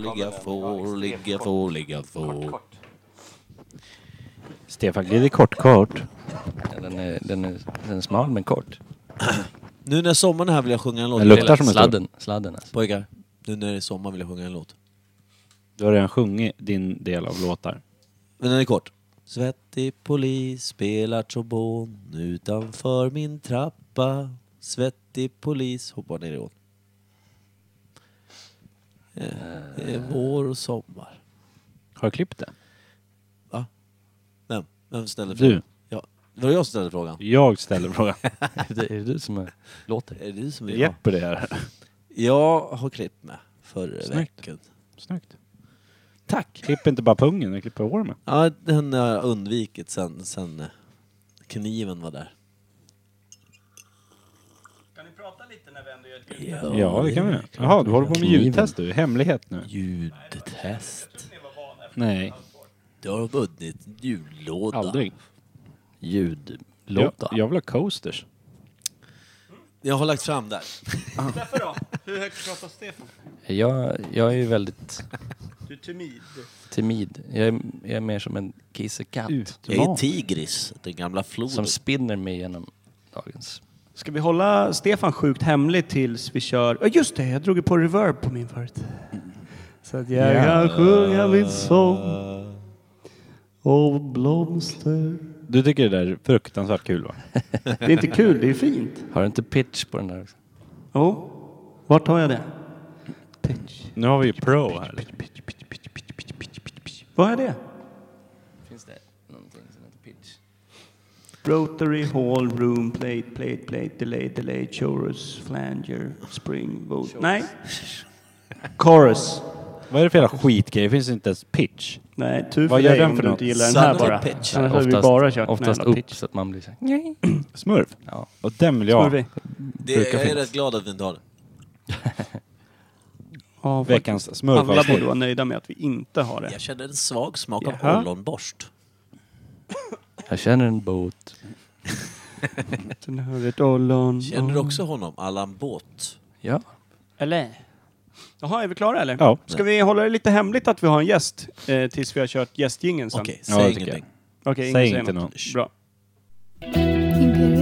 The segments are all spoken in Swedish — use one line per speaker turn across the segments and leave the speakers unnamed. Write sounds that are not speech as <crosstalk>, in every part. Ligga får, ligga får, ligga får.
Stefan glider kort kort.
Den är, den, är, den är smal men kort.
Nu när sommaren är här vill jag sjunga en låt.
Den luktar som en stor.
Sladden, sladden alltså.
Pojkar, nu när det är sommar vill jag sjunga en låt.
Du har redan sjungit din del av låtar.
Men den är kort. Svettig polis spelar trombon utanför min trappa. Svettig polis hoppar ner i ån. Eh, Det är vår och sommar.
Har du klippt det?
Vem? Vem ställer frågan?
Du.
Ja. Var det jag som ställde frågan?
Jag ställer <laughs> frågan.
Är det, är det du som är, låter?
Är det du som är
Jeppe det här.
Jag har klippt med förra
Snyggt.
veckan.
Snyggt.
Tack!
Klipp inte bara pungen, du klipper ormen.
Ja, den har jag undvikit sen, sen eh, kniven var där. Kan ni prata lite när vi ändå gör ett
Ja, det kan vi göra. Jaha, du håller på med ljudtest du. Hemlighet nu.
Ljudtest.
Nej,
Du har vunnit jullåda.
aldrig. Jag,
Ljudlåta.
jag vill ha coasters.
Jag har lagt fram där.
Därför då? <laughs> Hur högt pratar Stefan?
Jag, jag är ju väldigt
Du är timid.
timid. Jag är, jag är mer som en kissekatt
Jag är
Utman.
Tigris, den gamla floden.
som spinner mig genom dagens...
Ska vi hålla Stefan sjukt hemlig tills vi kör... Ja, just det. Jag drog ju på reverb på min förut. Så att jag
Ja.
kan sjunga min sång om blomster.
Du tycker det där är fruktansvärt kul va?
Det är inte kul, det är fint.
Har du inte pitch på den där också?
Jo. Vart har jag det? Pitch.
Nu har vi ju pro här.
Vad är det?
Finns det någonting som heter pitch?
Rotary, hall, room, plate, plate, plate, delay, delay, chorus, flanger, spring, vote. Nej. Chorus.
Vad är det för jävla skitgrej? Det finns inte ens pitch.
Nej, tur för
Vad gör
dig
den
om
för
du
något?
inte gillar den här
Sudden
bara.
pitch.
Annars hade vi bara kört den
oftast
här
upp
jävla pitch.
så att man blir så här...
Smurf?
Ja.
Och den vill jag
Ja.
ha.
vi.
Det,
brukar
jag är
finnas.
rätt glad att vi inte har det.
Ja,
Veckans
faktiskt. Alla borde
smurfavsnitt.
vara nöjda med att vi inte har det.
Jag känner en svag smak av
Jaha.
ollonborst.
Jag känner en båt.
Sen hör vi ett ollon.
Känner du också honom? Allan Båt.
Ja.
Eller? Jaha, är vi klara eller?
Ja.
Ska vi hålla det lite hemligt att vi har en gäst eh, tills vi har kört gästjingeln sen?
Okej,
Ja, det
säg
tycker
ingenting.
Okej, ingen
Säg
säger
inte
något.
något.
Bra.
Imperial. Imperial.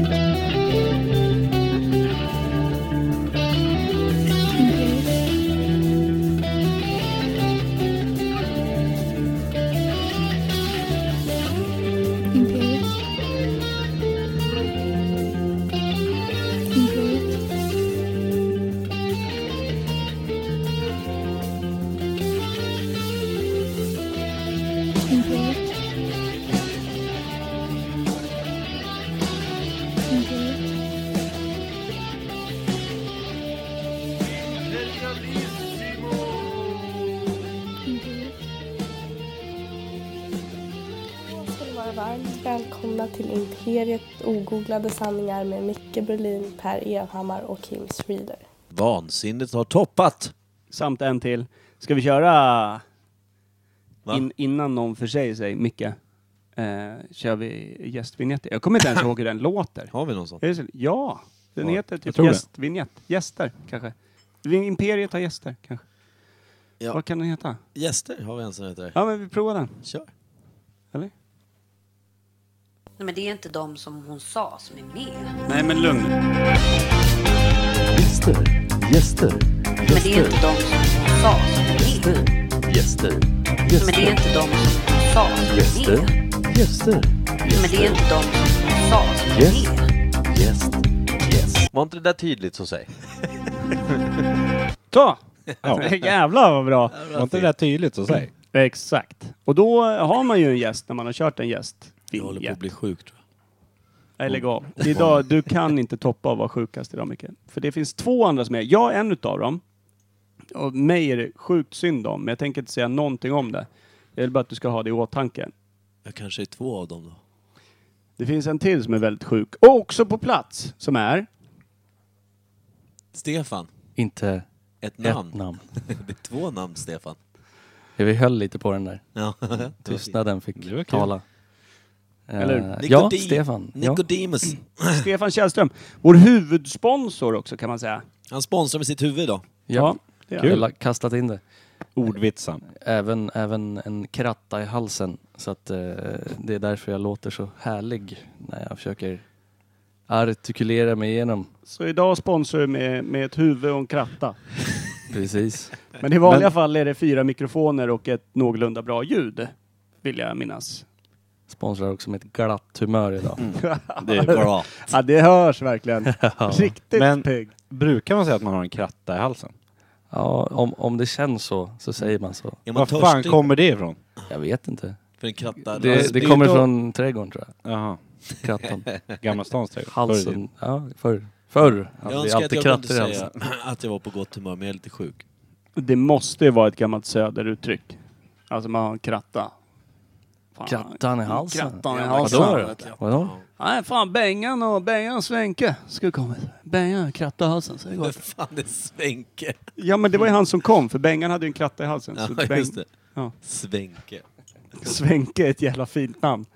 Imperial. Imperial. Imperial. Imperial. Imperial.
Jag ska ni vara varmt välkomna till Imperiet ogooglade sanningar med Micke Berlin, Per Evhammar och Kim Schreeder.
Vansinnet har toppat!
Samt en till. Ska vi köra
Va?
in, innan någon försäger sig, Micke? Eh, kör vi gästvinjetter? Jag kommer
<laughs>
inte ens ihåg hur den låter.
Har vi någon sån?
Eh,
Är det så? Ja, den
Ja,
heter
jag
typ
tror det.
gästvinjett. Gäster, kanske. Vi- Imperiet har gäster, kanske.
Ja.
Vad kan den heta?
Gäster har vi en som heter.
Ja, men vi provar den.
Kör.
Eller?
Nej, men det är inte de som hon sa som är med.
Nej, men lugn
Gäster, gäster,
Men det är inte de som hon sa som är med.
gäster,
Men det är inte de som hon sa som är
gäster,
med.
gäster,
Men det är inte de som hon sa som är med.
gäst, gäst.
Var inte det där tydligt så säg? <laughs>
Ta!
Ja.
<laughs> Jävlar vad bra!
Var inte det där tydligt så säg?
Exakt. Och då har man ju en gäst när man har kört en gäst.
Jag håller på att bli sjuk tror jag.
Nej, lägg av. Idag, du kan inte toppa att vara sjukast idag, Micke. För det finns två andra som är... Jag är en utav dem. Och mig är det sjukt synd om, men jag tänker inte säga någonting om det. Jag vill bara att du ska ha det i åtanke.
Jag kanske är två av dem då.
Det finns en till som är väldigt sjuk, och också på plats, som är...
Stefan.
Inte
Ett
ett
namn.
namn.
<laughs> det är två namn Stefan.
Vi höll lite på den där.
Ja.
Tystnaden fick
Det var kul.
tala.
Eller hur?
Eh, ja,
Nicodim-
Stefan. Ja.
Nicodemus.
Stefan Källström. Vår huvudsponsor också, kan man säga.
Han sponsrar med sitt huvud idag.
Ja.
det är
Kul. Jag har kastat in det.
Ordvitsen.
Även, även en kratta i halsen. Så att eh, det är därför jag låter så härlig när jag försöker artikulera mig igenom.
Så idag sponsrar vi med, med ett huvud och en kratta.
Precis.
Men i vanliga fall är det fyra mikrofoner och ett någorlunda bra ljud, vill jag minnas.
Sponsrar också med ett glatt humör idag.
Det är bra.
Ja, det hörs verkligen. Riktigt
Men-
pigg.
Brukar man säga att man har en kratta i halsen?
Ja, om, om det känns så, så säger man så.
Är man
Var fan
törstig
kommer det ifrån?
Jag vet inte. Alltså,
för en kratta? Alltså,
Det, det kommer från trädgården tror jag.
Jaha.
Krattan.
Gamla stans trädgård. Förr i tiden.
Halsen. Ja, förr. Förr
Jag
hade vi
önskar att
alltid
jag
krattor i
kunde
halsen.
säga <laughs> att jag var på gott humör, men jag är lite
<laughs>
sjuk.
Det måste ju vara ett gammalt söderuttryck. Alltså man har en kratta. Fan.
Krattan i halsen?
Krattan i
Ja,
halsen.
vadå då? Vadå?
Nej, fan Bengan och Bengan och Svenke skulle komma. Bengan, kratta i halsen. Så det
Vad
går.
fan det är Svenke?
Ja, men det var ju han som kom, för Bengan hade ju en kratta i halsen.
Ja,
så Beng-
just det.
Ja.
Svenke.
Svenke är ett jävla fint namn.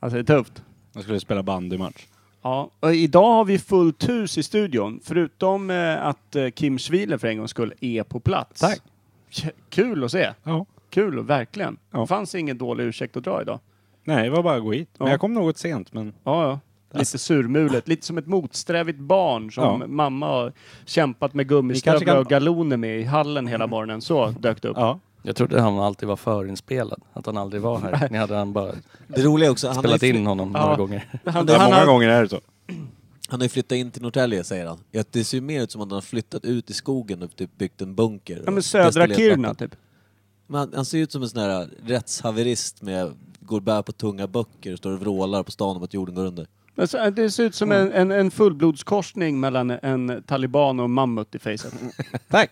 Alltså det är tufft.
Jag skulle spela bandymatch.
Ja, och idag har vi fullt hus i studion. Förutom eh, att eh, Kim Schwiler för en gångs skull är på plats.
Tack.
K- Kul att se.
Ja.
Kul, och verkligen.
Ja.
Det fanns ingen dålig ursäkt att dra idag.
Nej, det var bara att gå hit. Men
Ja.
jag kom något sent, men
Ja, ja. Lite surmulet. Lite som ett motsträvigt barn som
Alltså- Ja.
mamma har kämpat med
Vi kanske
gummistövlar
kan-
och galoner med i hallen hela morgonen. Så dök det upp.
ja.
Jag trodde han alltid var förinspelad. Att han aldrig var här. Ni hade han bara
Det roliga är också, han har,
spelat
ju fly-
in honom
Ja.
några gånger.
Han,
Det är
han
många
har-
gånger är det så.
han har ju flyttat in till Norrtälje, säger han. Ja, Det ser ju mer ut som att han har flyttat ut i skogen och typ byggt en bunker.
Ja, men
och
södra
destillerat
Kiruna
vatten.
typ.
Men han, han ser ut som en sån här rättshaverist med, går bär på tunga böcker och står och vrålar på stan om att jorden går under.
Men så- Det ser ut som en, en, en fullblodskorsning mellan en taliban och en mammut i facet.
Tack!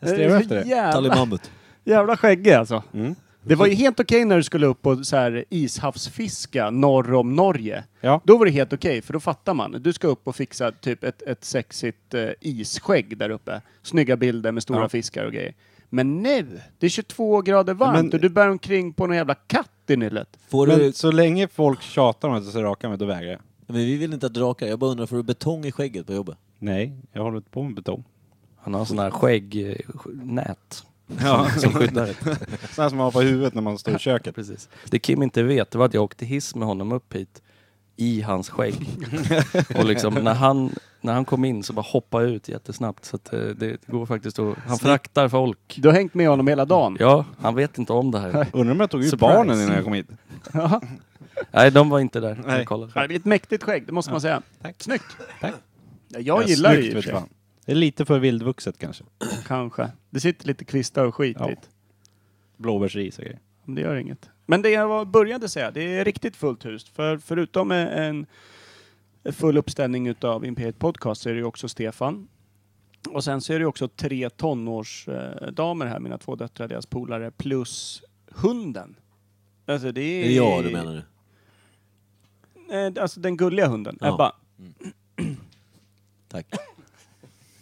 Jag strävar efter det.
Jävla,
Talimammut.
jävla skäggig alltså.
Mm.
Det var ju helt okej när du skulle upp och så här ishavsfiska norr om Norge.
Ja.
Då var det helt okej, för då fattar man. Du ska upp och fixa typ ett, ett sexigt eh, isskägg där uppe. Snygga bilder med stora
Ja.
fiskar och grejer. Men nu, det är 22 grader varmt
Men-
och du bär omkring på någon jävla katt i nyllet.
Får du...
Men så länge folk tjatar om att jag ska raka mig, då vägrar jag.
Men vi vill inte att drakar... Jag bara undrar, får du betong i skägget på jobbet?
Nej, jag håller inte på med betong.
Han har sån här skäggnät.
Ja.
Som skyddar det.
Sådana som man har på huvudet när man står i köket.
Precis. Det Kim inte vet det var att jag åkte hiss med honom upp hit i hans skägg. och liksom, när, han, när han kom in så bara hoppade jag ut jättesnabbt. Så att, eh, det, det går faktiskt att... Han fraktar folk.
Du har hängt med honom hela dagen.
Ja, han vet inte om det här.
Undrar om jag tog ut
Surprise.
barnen innan jag kom hit.
Nej, de var inte där.
Nej.
Jag kollade.
Ja, Det är ett mäktigt skägg, det måste man säga.
Tack.
Snyggt!
Tack.
Ja, Jag gillar det
snyggt,
ju. i och
vet
för sig.
fan. Det är lite för vildvuxet kanske.
Kanske. Det sitter lite kvistar och skit
Ja.
dit.
Blåbärsris och grejer.
Men Det gör inget. Men det jag var- började säga, det är riktigt fullt hus. För förutom en full uppställning utav Imperiet Podcast så är det ju också Stefan. Och sen så är det ju också tre tonårsdamer här, mina två döttrar, deras polare, plus hunden. Alltså det
Det
är...
är jag du menar nu.
Eh, Alltså den gulliga hunden,
Ja.
Ebba.
Tack.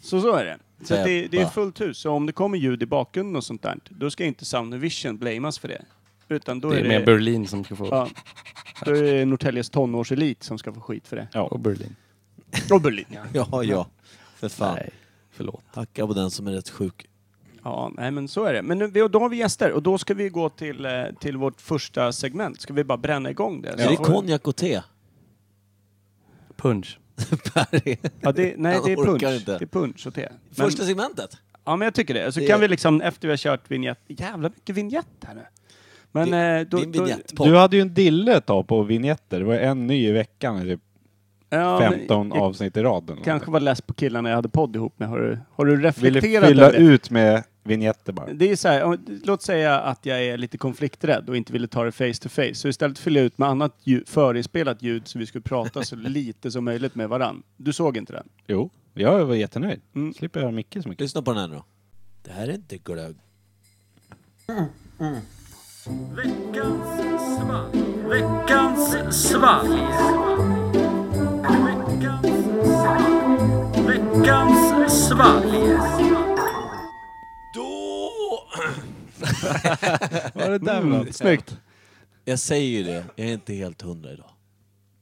Så så är det. Så att det, det är
Ebba.
fullt hus. Så om det kommer ljud i bakgrunden och sånt där, då ska inte Soundvision blamas för det. Utan då
Det är mer Berlin som ska få...
Ja. Då är det Norrtäljes tonårselit som ska få skit för det.
Och Berlin.
Och Berlin, <laughs> ja.
Ja, ja. För fan.
Nej, förlåt.
Hacka på den som är rätt sjuk.
Ja, nej men så är det. Men nu, vi- då har vi gäster och då ska vi gå till, eh, till vårt första segment. Ska vi bara bränna igång det?
Är det
Så-
konjak och te? <laughs>
Punch.
Ja, det, nej, det är
Jag orkar
punch.
inte.
Det är punch och te. Men,
Första segmentet?
Ja, men jag tycker det. Så
Det-
kan vi liksom, efter vi har kört vignett, jävla mycket vignett här nu. Men eh, då...
Din
då-
vignettpodd.
Du hade ju en dille ett tag på vignetter. Det var en ny i veckan, i typ
ja, men
15
jag
avsnitt i raden.
kanske var less på killarna jag hade podd ihop med. Har du, har du
Ville
reflekterat
fylla
över det?
ut med vignetter bara.
Det är så här, om- låt säga att jag är lite konflikträdd och inte ville ta det face to face. Så istället fylla ut med annat ljud, förinspelat ljud så vi skulle prata så lite som möjligt med varann. Du såg inte den?
Jo, jag var jättenöjd.
Mm.
Slipper jag höra Micke så mycket.
Lyssna på den här nu då. Det här är inte glögg.
Vad är det där
Mm, snyggt!
Jag säger ju det, jag är inte helt hundra idag.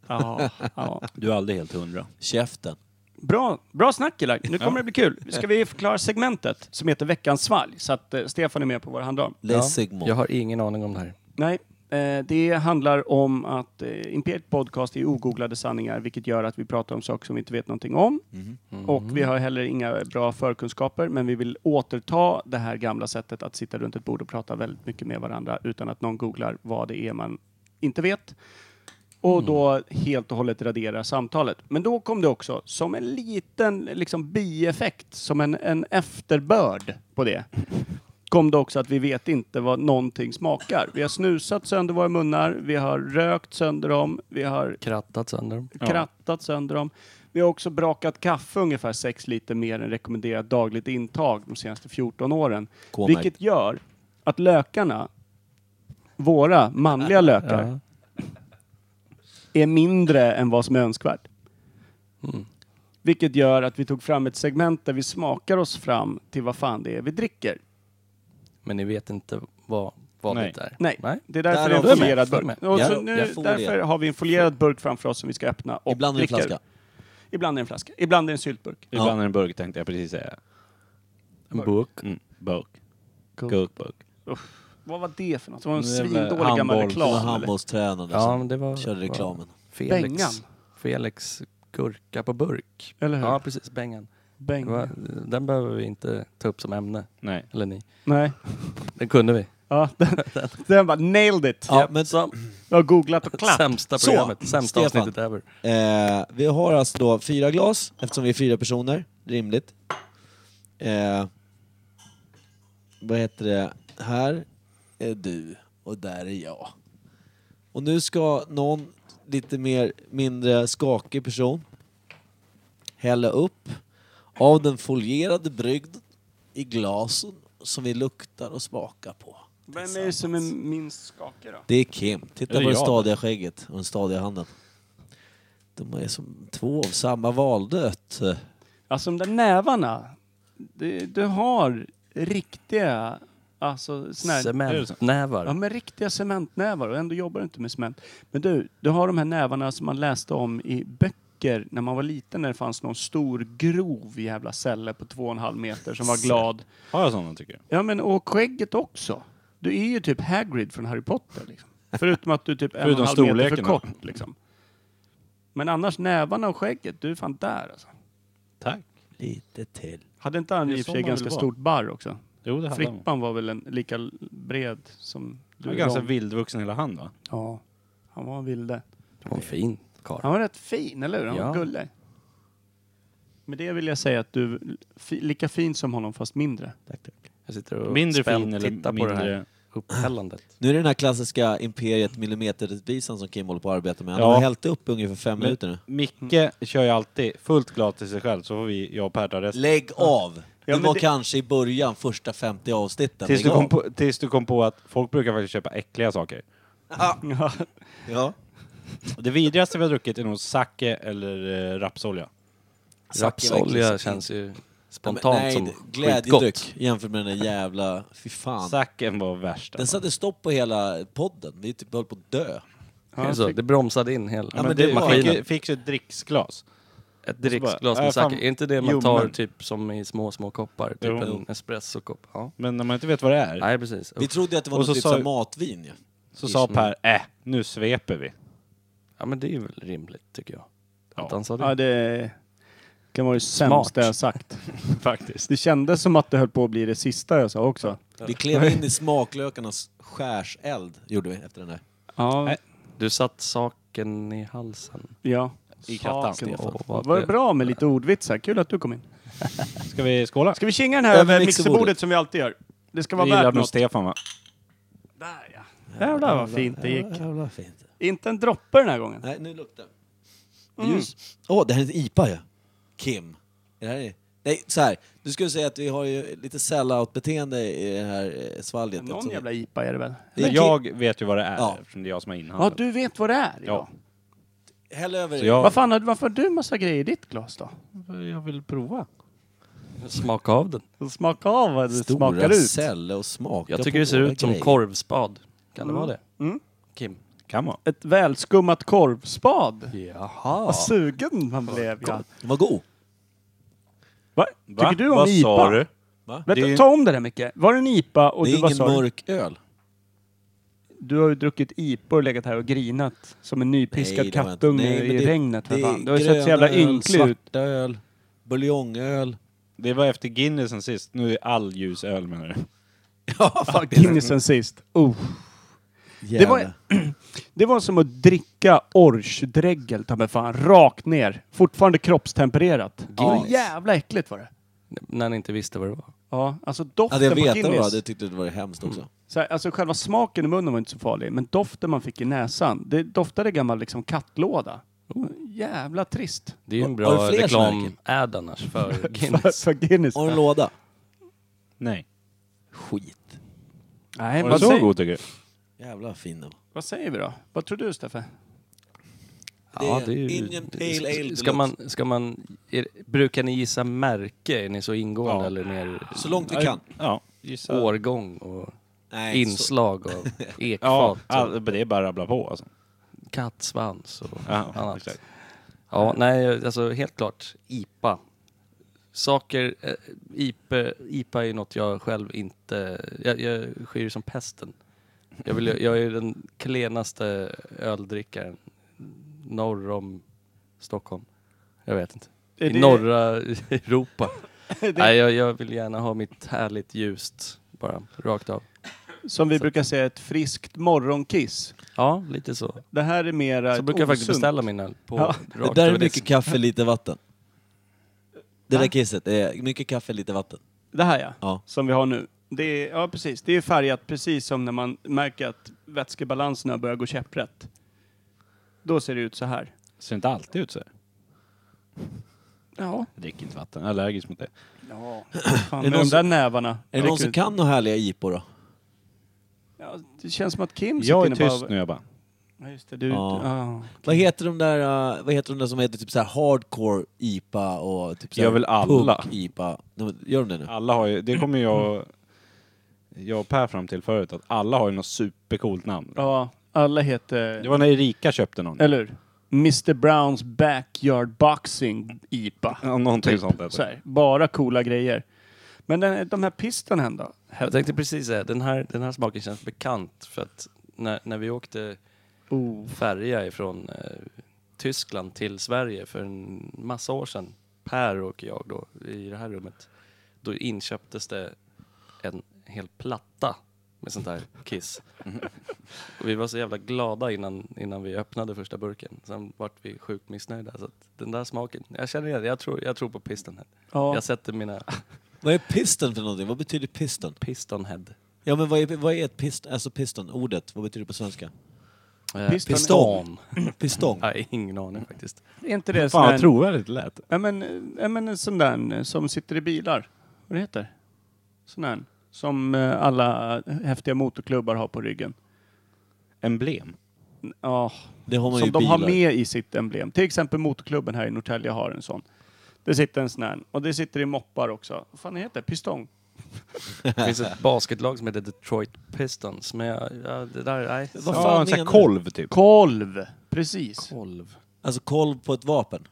Ja, ja.
Du är aldrig helt hundra.
Käften.
Bra, bra snack killar. Nu kommer det bli kul. Ska vi förklara segmentet som heter Veckans svalg så att eh, Stefan är med på vår handram.
Les Sigmund.
Jag har ingen aning om det här.
Nej, eh, det handlar om att eh, Imperiet Podcast är ogooglade sanningar vilket gör att vi pratar om saker som vi inte vet någonting om. Och vi har heller inga bra förkunskaper men vi vill återta det här gamla sättet att sitta runt ett bord och prata väldigt mycket med varandra utan att någon googlar vad det är man inte vet. Och då helt och hållet radera samtalet. Men då kom det också som en liten liksom, bieffekt, som en, en efterbörd på det kom det också att vi vet inte vad någonting smakar. Vi har snusat sönder våra munnar, vi har rökt sönder dem, vi har
Krattat sönder dem.
krattat sönder dem. Vi har också brakat kaffe ungefär 6 liter mer än rekommenderat dagligt intag de senaste 14 åren.
K-märkt.
Vilket gör att lökarna, våra manliga lökar, är mindre än vad som är önskvärt.
Mm.
Vilket gör att vi tog fram ett segment där vi smakar oss fram till vad fan det är vi dricker.
Men ni vet inte vad, vad
Nej.
det är?
Nej,
Nej.
det är därför
Där
det är
har vi
en folierad
med.
burk.
Där
Och
med.
så
Jag-
nu,
jag folierar.
därför har vi en folierad burk framför oss som vi ska öppna och
Ibland är det en
dricka ur.
flaska.
Ibland är det en flaska. Ibland är det en syltburk.
Ibland är det en burk tänkte jag precis säga.
En burk.
Mm, burk. Gurkburk.
Vad var det för något? Det var en
Det är väl
svindålig
handboll.
gammal
Han var
reklam. eller?
handbollstränare
Ja,
som
men det var...
körde
var
reklamen.
Felix,
Bengan.
Felix gurka på burk.
Eller hur?
Ja, precis. Bengan. Det
Bäng.
var- Den behöver vi inte ta upp som ämne.
Nej.
Eller ni.
Nej.
Den kunde vi.
Ja, den, den bara nailed it.
Ja, men,
Sam,
Jag har googlat och klart.
sämsta
Så,
programmet. sämsta
Stefan.
avsnittet ever.
eh, vi har alltså då fyra glas, eftersom vi är fyra personer. Rimligt. Eh, vad heter det? Här är du och där är jag. Och nu ska någon lite mer mindre skakig person hälla upp av den folierade brygden i glasen som vi luktar och smakar på.
Vem är det som är minst skakig då?
Det är Kim. Titta
Är det
på det
jag?
stadiga skägget och den stadiga handen. De är som två av samma valdött.
Alltså de där nävarna. Du, du har riktiga, alltså såna här
Cementnävar.
Ja, men riktiga cementnävar och ändå jobbar du inte med cement. Men du, du har de här nävarna som man läste om i böcker när man var liten när det fanns någon stor grov jävla celle på två och en halv meter som var glad.
Har jag sådana tycker du?
Ja men och skägget också. Du är ju typ Hagrid från Harry Potter. Liksom. Förutom att du är typ en och en
Förutom
halv meter för
storleken då.
kort. Liksom. Men annars nävarna och skägget, du är fan där alltså.
Tack.
Lite till.
Hade inte han
Det är
i
så
och för sig
man
ganska
vill vara.
stort barr också?
Jo, det hade han.
Frippan var väl en, lika bred som du
Du är
är
ganska
lång.
vildvuxen hela han va?
Ja, han var en vilde.
Vad en fin karl.
Han var rätt fin, eller hur? Han var
Ja.
gullig. Med det vill jag säga att du är fi, lika fin som honom fast mindre.
Jag sitter och
Mindre
spänt
fin eller
tittar
mindre...
på det här
<clears throat>
upphällandet.
Nu är det den här klassiska imperiet millimeterrättvisan som Kim håller på att arbeta med. Han
Ja.
har hällt upp ungefär fem
Men-
minuter nu.
Micke kör ju alltid fullt glas till sig själv så får vi, jag och Per ta resten.
Lägg av!
Ja,
det
men
var
det-
kanske i början, första 50 avsnitten.
Tills
Lägg
du, kom
av.
på, tills du kom på att folk brukar faktiskt köpa äckliga saker.
Ja.
Ja.
Och Det vidrigaste vi har druckit är nog sake eller eh, rapsolja.
Rapsolja känns ju spontant
Nej,
som
det-
skitgott.
glädjedryck jämfört med den där jävla... Fy fan.
Saken var värst.
Den
alltså.
satte stopp på hela podden. Vi typ höll på att dö.
Är det så? Det bromsade in hela
Ja, men
men
det
det var-
fick,
maskinen.
ju- fick ju ett dricksglas.
Ett dricksglas
Ja, fan.
med sake. Är inte det man
Jo,
tar
men-
typ som i små, små koppar? Typ
Jo.
en espressokopp? Ja.
Men när man inte vet vad det är
Nej, precis.
Vi
Usch.
trodde ju att det var
Och så
något typ
sa-
så här matvin ju.
så sa Per, äh, nu sveper vi.
Ja, men det är ju väl rimligt, tycker jag.
Ja.
Att han sa det.
ja, det kan vara det sämsta jag har sagt.
Faktiskt.
Det kändes som att det höll på att bli det sista jag sa också.
Vi klev in i smaklökarnas skärseld, gjorde vi efter den där.
Ja.
Nej.
Du satt saken i halsen.
Äh, ja.
I kattan.
Saken.
Stefan.
Åh, vad Var det bra med lite ordvitsar? Kul att du kom in.
Ska vi skåla?
Ska vi kinga den här
Över
över
mixerbordet.
mixerbordet som vi alltid gör? Det ska
Det
vara
gillar
värt
nog
något.
Stefan va?
Där ja. Jävlar vad fint det gick.
Jävla fint.
Inte en droppe den här gången.
Nej, nu luktar det. Ljus. Åh, det här är ett IPA ju. Kim. Det här är... Nej, så här. Du skulle säga att vi har ju lite sellout-beteende i det här eh, svalget.
Någon
eftersom-
jävla IPA är det väl?
Det är Kim-
Men jag vet ju vad det är
Ja.
eftersom det är jag som har
Ja,
inhandlat.
du vet vad det är. Ja.
Häll över
Så
det.
jag,
Vad fan, har- varför har du massa grejer i ditt glas då?
jag vill prova.
Smaka av den.
Smaka av vad det smakar
Stora
ut.
celler och smaka
Jag tycker
på
det ser
våra
ut som
grejer.
korvspad. Kan det vara det?
Mm.
Kim?
Kan vara.
Ett välskummat korvspad.
Jaha.
Vad sugen man blev. Ja.
Den var god.
Va?
Va?
Tycker du om
Vad
IPA?
sa du? Va?
Vänta,
det är,
ta om det där Micke. Var det en IPA och
det
du
är
vad
ingen
sa du?
mörk öl.
Du har ju druckit IPA och legat här och grinat som en nypiskad
Nej, det har jag inte.
kattunge
Nej, men
i
det-
regnet. för
det är
fan. Du har ju sett så jävla
gröna öl,
ynklig ut.
Svarta öl, buljongöl.
det var efter Guinnessen sist. Nu är all ljus öl menar du?
Ja,
Fan, Guinnessen sist. Oh.
det
var- <clears throat> Det var som att dricka orchdregel, ta mig fan, rakt ner. Fortfarande kroppstempererat. Ja.
Guinness.
Jävla äckligt var det.
När ni inte visste vad det var.
Ja, alltså doften
Hade jag
på
vetat det
Guinness.
var det tyckte jag det var hemskt också.
Så här, alltså själva smaken i munnen var inte så farlig, men doften man fick i näsan, det doftade gammal liksom kattlåda. Jävla trist.
Det är ju en
Har
bra
du fler
reklam ad annars för Guinness.
För Guinness.
Och en låda.
Nej.
Skit.
Nej,
Var det
vad
så
säger,
god tycker du?
Jävla fin den var.
vad säger vi då? Vad tror du Steffe?
Det är Indian Pale Ale Deluxe.
ska man, ska man, är, Brukar ni gissa märke? Är ni så ingående
Ja.
eller mer
Så långt vi kan.
Ja, gissa.
årgång och
Nej, så-
<laughs>
inslag av
Ja,
ekfat
all, det är bara att rabbla på alltså.
och kattsvans och
Ja,
annat.
exakt.
Ja, nej, alltså helt klart IPA. Saker, eh, IPA, IPA är ju något jag själv inte, jag, jag skyr som pesten. Jag, vill, jag är den klenaste öldrickaren norr om Stockholm. Jag vet inte.
Är
I
det-
norra <laughs>
<laughs>
Europa. Nej, jag, jag vill gärna ha mitt härligt ljust, bara rakt av.
Som vi brukar säga, ett friskt morgonkiss.
Ja, lite så.
Det här är mera
Så
ett
brukar jag faktiskt
osunt-
beställa min öl på
Ja,
Det
rakt
där
över
är mycket
disken.
kaffe, lite vatten. Det
Va?
där kisset är mycket kaffe, lite vatten.
Det här ja,
Ja.
som vi har nu. Det är, ja, precis. Det är färgat precis som när man märker att vätskebalanserna börjar gå käpprätt. Då ser det ut så här.
Ser inte alltid ut så här.
Ja.
Jag dricker inte vatten, jag är allergisk mot det.
ja.
Är
Fan,
det någon
med de där
som-
nävarna.
Är det någon som kan några härliga IPor då?
Ja, det känns som att Kim
Jag är
sitter inne
tyst nu jag bara.
Ja, just det, du är
Ja.
ute. Ja.
Vad heter de där, eh, vad heter de där som heter typ så här hardcore IPA och typ så här
Gör väl alla.
punk IPA? De- Gör de det nu?
Alla har ju, det kommer jag, jag och Per fram till förut, att alla har ju något supercoolt namn.
ja, alla heter...
Det var när Erika köpte någon.
Eller hur? Mr Browns Backyard Boxing IPA.
Ja, någonting sånt typ. heter
Typ. Så
det.
här, bara coola grejer. Men den, de här pistonen då?
Jag tänkte precis säga, den här, den här smaken känns bekant för att när, när vi åkte
Oh.
färja ifrån eh, Tyskland till Sverige för en massa år sedan, Per och jag då, i det här rummet, då inköptes det en hel platta med sånt här <laughs> kiss. Och vi var så jävla glada innan, innan vi öppnade första burken. Sen vart vi sjukt missnöjda. Så att den där smaken, jag känner igen det. jag tror, jag tror på pistonhead.
Ja.
Jag sätter mina
Vad är piston för någonting? Vad betyder piston?
pistonhead.
Ja men vad är, vad är ett piston, alltså piston, ordet, vad betyder det på svenska?
Eh,
Piston.
Piston.
Pistong?
Nej, ingen aning faktiskt.
Är inte det
Fan
sån
vad
här-
trovärdigt det lät.
Ja men, ja, men en sån där eh, som sitter i bilar. Vad det heter? Sån där. Som eh, alla häftiga motorklubbar har på ryggen.
Emblem.
Ja,
Det har man ju
som
i
de
bilar.
har med i sitt emblem. Till exempel motorklubben här i Norrtälje har en sån. Det sitter en sån här. Och det sitter i moppar också. Vad fan heter det? Pistong?
Det finns ett basketlag som heter Detroit Pistons, men jag, ja, det där, nej.
Vad fan
Ja, en sån
menar
här
du?
kolv typ.
Kolv! Precis.
Kolv.
Alltså kolv på ett vapen?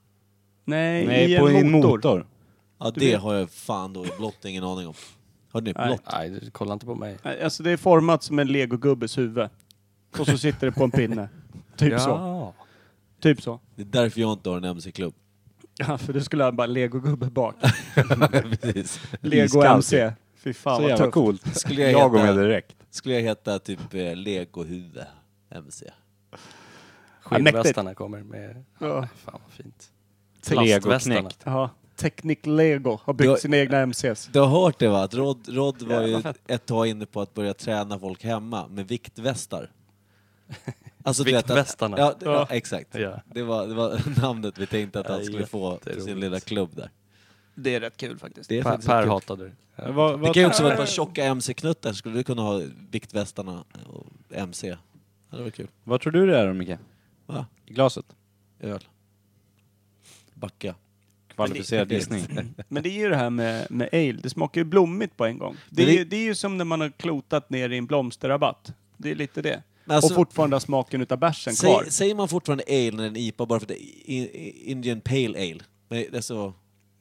Nej, i
Nej,
en
på en
motor.
motor.
Ja det har jag fan då blott ingen aning om. Har ni
Nej.
blott?
Nej, du- kolla inte på mig.
Nej, Alltså det är format som en legogubbes huvud. Och så sitter det på en pinne. Typ så.
ja.
Typ så.
Det är därför jag inte har en
<laughs>
MC-klubb.
Ja, för du skulle ha bara legogubbe <laughs> bak.
Precis.
Lego
Iskall,
MC. Fy fan
Så
vad
jävla
tufft.
coolt.
Skulle jag
Jag går med
heta-
direkt.
Skulle jag heta typ eh, legohuvud MC?
Skinnvästarna kommer med...
Ja.
Ja. Fan vad fint.
Legoknäck.
Ja. Teknik Lego har
Du har-
byggt sina egna MCs.
Du har hört det va? Att Rod, Rod var
Jävla
ju
fett.
ett tag inne på att börja träna folk hemma med
<laughs>
viktvästar. Alltså, du vet att-
Viktvästarna.
Ja, d- ja,
Ja.
exakt.
Ja.
Det, var, det var <laughs> namnet vi tänkte att han
Ja,
skulle få till sin
jätteroligt.
lilla klubb där.
Det är rätt kul faktiskt.
Det, är
Per,
faktiskt
per
kul.
hatade det. Ja.
Vad,
det
vad
kan ju också vara ett par tjocka MC-knuttar. Skulle du kunna ha viktvästarna och MC? Ja, det var kul.
Vad tror du det är då Micke?
Va?
I glaset?
Öl. Backa.
Kvalificerad gissning.
Men det är ju det här med, med ale. Det smakar ju blommigt på en gång. Det är,
Men det-
ju, det är ju som när man har klotat ner i en blomsterrabatt. Det är lite det.
Men alltså-
och fortfarande har smaken utav bärsen kvar.
Säg, säger man fortfarande ale när det är en IPA bara för att det är i- i- Indian Pale Ale? Nej, det är så...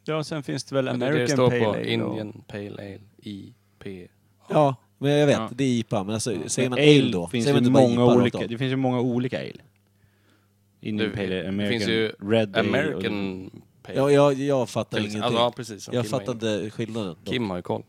Ja, sen finns det väl
Men det är
American
det det står
Pale
på
Ale. och-
Indian Pale Ale IP.
Ja, men jag vet,
Ja.
det är IPA. Men alltså, säger man
Men
ale då?
Finns
säger
ju
man typ
många
rakt
olika,
av?
det finns ju många olika ale. Indian
Det-
Pale Ale,
det
American,
finns ju
Red Ale. och-
American Pale
Ja, jag, jag fattar
till
ingenting.
exempel. Alltså, ja, precis, som
jag
Kim var
fattar
inne
inte skillnaden.
på. Kim har ju koll.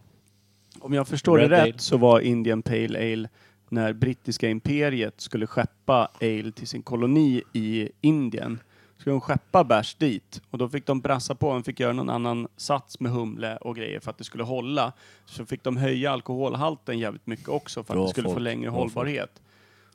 Om jag förstår
Red
det rätt
ale.
så var Indian Pale Ale när brittiska imperiet skulle skeppa ale till sin koloni i Indien. Skulle de skeppa bärs dit och då fick de brassa på, de fick göra någon annan sats med humle och grejer för att det skulle hålla. Så fick de höja alkoholhalten jävligt mycket också för att
Bra
det skulle få
folk,
längre
bra
hållbarhet.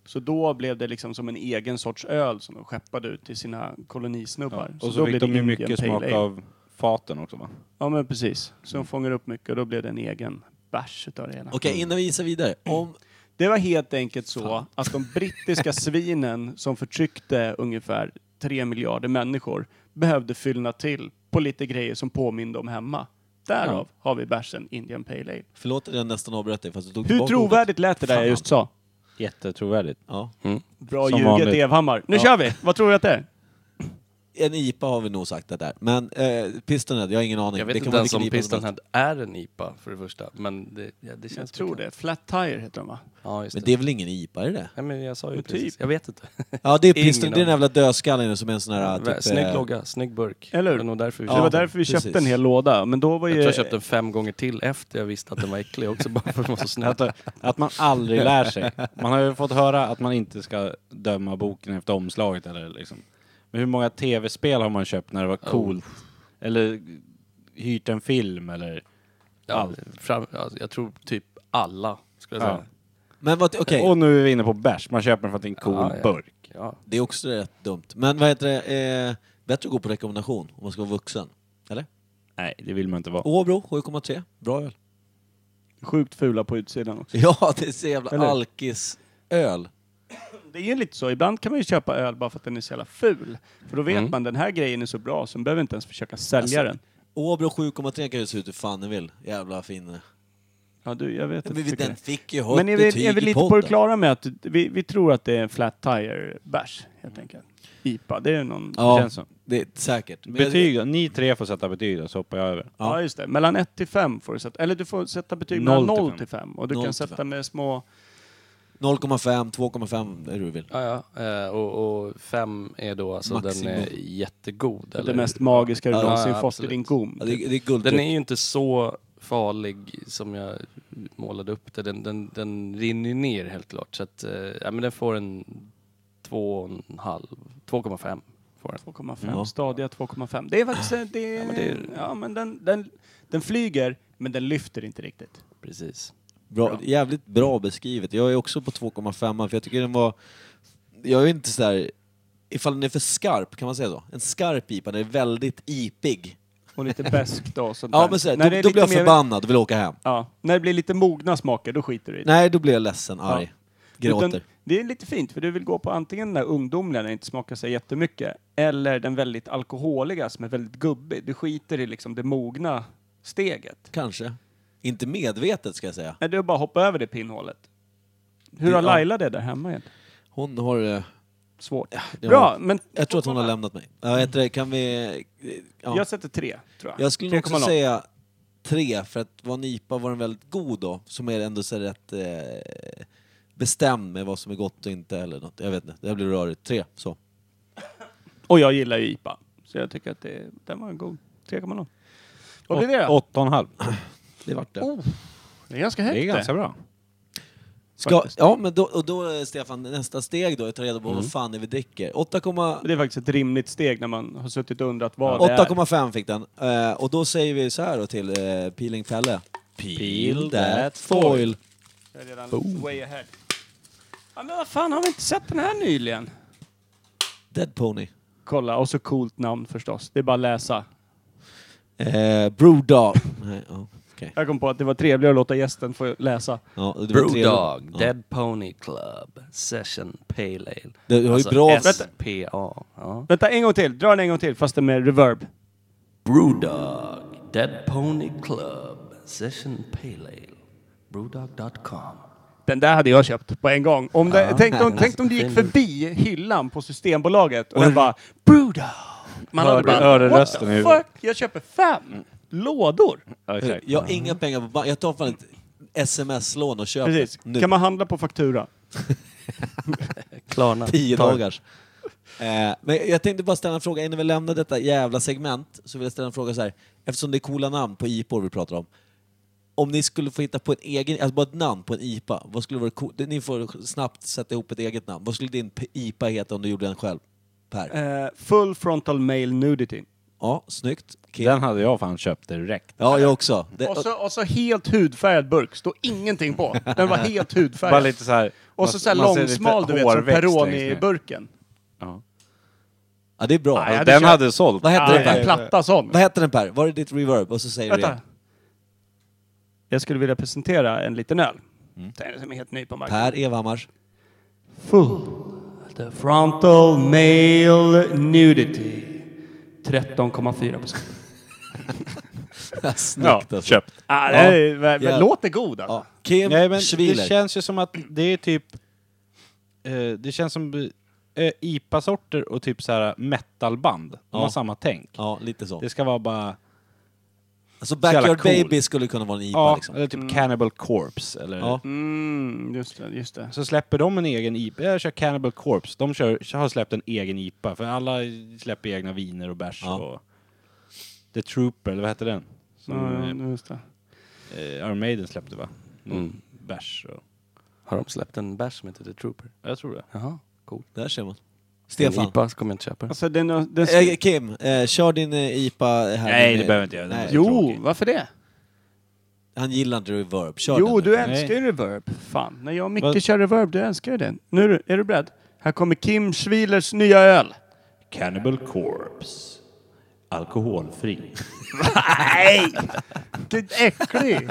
Så då blev det liksom som en egen sorts öl som de skeppade ut till sina
Ja.
kolonisnubbar.
Och så,
då
fick
blev
de
det
ju
Indian
mycket
Pale
smak
Ale.
av faten också va?
Ja men precis. Så de fångar upp mycket och då blev det en egen bärs utav det hela.
Okej, innan vi gissar vidare. Om,
Det var helt enkelt så att de brittiska svinen som förtryckte ungefär 3 miljarder människor behövde fyllna till på lite grejer som påminde om hemma. Därav har vi bärsen Indian Pale Ale.
förlåt att jag nästan avbröt dig fast du tog
Hur
tillbaka
trovärdigt lät det där jag
Fan.
just sa?
Jättetrovärdigt.
Ja.
Bra
Som
ljuget
vanligt.
Evhammar. Nu
Ja.
kör vi! Vad tror du att det är?
En IPA har vi nog sagt det där. Men eh, Pistonhead, jag har ingen aning.
Jag vet
det kan
inte
vara
ens om
vilken IPA som helst.
Pistonhead är en IPA för det första. Men det, ja, det känns
Jag tror
bekant.
det. Flat Tire heter de va?
Ja, just
Men
det.
det är väl ingen IPA, är det
Nej, men jag sa ju
Men
precis.
typ.
Jag vet inte.
Ja, det är
Ingen
Piston. Det är den
aning.
jävla dödskallen som är en sån
<laughs>
här... Typ, eh,
snygg logga, snygg burk.
Eller hur?
Det var nog därför vi
Ja,
det var
köpte den.
därför eh, vi
precis.
köpte en hel låda. Men då var
Jag
ju...
tror jag köpte den fem gånger till efter jag visste att den var äcklig också, <laughs> bara för att den var så snygg.
Att, att man
<laughs>
aldrig lär sig. Man har ju fått höra att man inte ska döma boken efter omslaget eller liksom. Men hur många tv-spel har man köpt när det var
Oh.
coolt? Eller hyrt en film eller?
Ja, fram, ja, jag tror typ alla, skulle jag
Ja.
säga.
Men vad, okej,
Och nu är vi inne på bärs. Man köper den för att det är en cool
Ja, ja.
burk.
Ja.
det är också rätt dumt. Men vad heter det? Eh, bättre att gå på rekommendation om man ska vara vuxen. Eller?
Nej, det vill man inte vara.
Åbro 7,3. Bra öl. <laughs>
Sjukt fula på utsidan också.
Ja, det är så jävla
Eller?
alkisöl.
Det är ju lite så, ibland kan man ju köpa öl bara för att den är så jävla ful. För då vet
Mm.
man, den här grejen är så bra så man behöver inte ens försöka sälja
Alltså,
den.
Åbro 7,3 kan ju se ut hur fan ni vill. Jävla fin.
Ja, du, jag vet inte.
Men
vilken-
den fick ju högt
Men är vi,
betyg
är vi
i
lite på
podden.
det klara med att vi, vi tror att det är en flat tire-bärs, helt enkelt? IPA, det är ju någon... Ja.
Ja, det,
känns så.
är säkert. Men jag-
Betyg då? Ni tre får sätta betyg då, så hoppar jag över.
just det. Mellan 1 till 5 får du sätta... Eller du får sätta betyg mellan
0 till
0
fem.
till 5. Och du
0
kan
till fem.
sätta med små...
0,5, 2,5, hur du vill.
Ja, ja. Eh, Och, och fem är då alltså
Maximum.
den är jättegod. Eller?
Det mest magiska du
Ja,
någonsin
ja,
fått i din
absolut.
gom.
Ja, det, det är guld.
Den är ju inte så farlig som jag målade upp det. Den, den, den rinner ju ner helt klart. Så att, eh, ja, men den får en 2,5. 2,5 får den.
2,5.
Ja.
Stadiga 2,5. Det är faktiskt... eh, Det, ja, men,
det är-
ja, men den, den, den flyger, men den lyfter inte riktigt.
Precis.
Bra, jävligt bra beskrivet. Jag är också på 2,5 för jag tycker den var... Jag är inte sådär... Ifall den är för skarp, kan man säga så? En skarp IPA, den är väldigt ipig. <laughs>
Och lite besk då. Sånt
Ja
där.
men sådär,
När
då,
det är
då
lite
blir jag
mer-
förbannad och vill åka hem.
Ja, när det blir lite mogna smaker, då skiter du i det.
Nej, då blir jag ledsen, arg. Gråter.
Utan det är lite fint, för du vill gå på antingen den där ungdomliga, när det inte smakar så jättemycket, eller den väldigt alkoholiga som är väldigt gubbig. Du skiter i liksom det mogna steget.
Kanske. Inte medvetet ska jag säga.
Nej, du bara hoppa över det pinnhålet. Hur
Ja.
har Laila det där hemma egentligen?
Hon har... eh,
Svårt.
det
Bra,
har-
men
Jag tror att hon har lämnat mig. Ja, heter det, kan vi... eh, Ja.
jag sätter tre, tror jag.
Jag skulle nog också
3,0.
säga tre, för att vara en IPA var den väldigt god då, som är ändå så rätt eh, bestämd med vad som är gott och inte eller något. Jag vet inte, det här blir rörigt. Tre, så.
Och jag gillar ju IPA, så jag tycker att det, den var en god 3,0. Vad blir det då? Oh,
Åtta och en halv.
Det vart det.
Det är ganska högt
Det är ganska bra.
Ska, ja, men då, och då eh, Stefan, nästa steg då, att ta reda på vad fan är vi dricker. 8,5
Det är faktiskt ett rimligt steg när man har suttit och undrat vad det är.
8,5 fick den. Eh, och då säger vi så här då till eh, Peeling Pelle. Peel that foil.
Jag är redan way ahead. Ja, men vad fan, har vi inte sett den här nyligen?
Dead Pony.
Kolla, och så coolt namn förstås. Det är bara att läsa.
Eh, <laughs> Brewdog. Nej, ja, okej.
Jag kom på att det var trevligare att låta gästen få läsa.
Ja, det var trevligt.
Brewdog,
Ja.
Dead Pony Club, Session Pale Ale. Alltså
Det- det var ju bra-
SPA. Ja.
Vänta, en gång till. Dra den en gång till, fast det är med reverb.
Brewdog, Dead Pony Club, Session Pale Ale. Brewdog.com.
Den där hade jag köpt på en gång.
<laughs>
Om det, tänk, om, tänk om du gick
Fin.
förbi hyllan på Systembolaget och den bara Bruda!
Man
Hör-
hade bara,
hör du
what
rösten i
the
huvudet?"
fuck, jag köper fem lådor.
Ja, exakt.
Jag har
Mm.
inga pengar på bank. Jag tar fan ett sms-lån och köper
Precis.
nu.
Kan man handla på faktura?
Klarna.
Tio
Tar-
dagars. Eh, men jag tänkte bara ställa en fråga innan vi lämnar detta jävla segment. Så vill jag ställa en fråga så här. Eftersom det är coola namn på IPor vi pratar om. Om ni skulle få hitta på en egen, alltså bara ett namn på en IPA. Vad skulle vara coolt? Ni får snabbt sätta ihop ett eget namn. Vad skulle din p- IPA heta om du gjorde den själv? Per?
Eh, full frontal male nudity.
Ja, snyggt. Kim?
Den hade jag fan köpt direkt.
Ja, jag också. Det,
Och så, och så helt hudfärgad burk, står ingenting på. Den var helt
<laughs> Bara
hudfärgad.
lite så här.
Och så,
man-
så här
man ser lite
långsmal, du vet, som
hårväxt längst ner.
Peroni-burken.
Ja.
ja, det är bra.
Nej, jag hade
Alltså, Den
köpt-
hade sålt.
Vad hette
Ja,
den Per?
en platta sån.
Vad hette den Per? Var är ditt reverb? Och så säger du
Vänta.
det.
Jag skulle vilja presentera en liten öl.
Mm.
Den som är helt ny på marknaden.
Per Evhammars.
Full. The frontal male nudity. 13,4 procent.
Snyggt
Ja,
alltså.
köpt.
Ah, det är- men-
Ja.
men Låter god alltså.
Ja. Kim
Nej, men det
Schwiler.
känns ju som att det är typ... Eh, det känns som eh, IPA-sorter och typ så här metalband. De
Ja.
har samma tänk.
Ja, lite så.
Det ska vara bara...
Alltså
jävla
Backyard
cool.
Baby skulle kunna vara en IPA
Ja,
liksom.
eller typ Cannibal Corpse. Eller,
Ja.
Mm, just det, just det.
Så släpper de en egen IPA. Jag kör Cannibal Corpse. De kör, har släppt en egen IPA. För alla släpper egna viner och bärs
Ja.
och... The Trooper, eller vad hette den? Som eh,
Mm, just det.
eh, Iron Maiden släppte va? Någon
Mm.
bärs och...
Har de släppt en bärs som heter The Trooper?
Jag tror det.
Jaha.
Där ser man.
En
Stefan.
IPA så kommer jag inte köpa den.
Alltså, den, den,
Eh, Kim, eh, kör din eh, IPA här.
Nej,
Din,
det
eh,
behöver jag inte göra. Den
nej.
är så
jo,
tråkig.
varför det?
Han gillar inte reverb. Kör
Jo,
den.
du
Nej.
älskar ju reverb. Fan, när jag och
Vad-
Micke kör reverb, du älskar ju den. Nu, är du- är du beredd? Här kommer Kim Schwielers nya öl.
Cannibal Corpse. Alkoholfri.
<laughs>
<laughs> Vilken äcklig!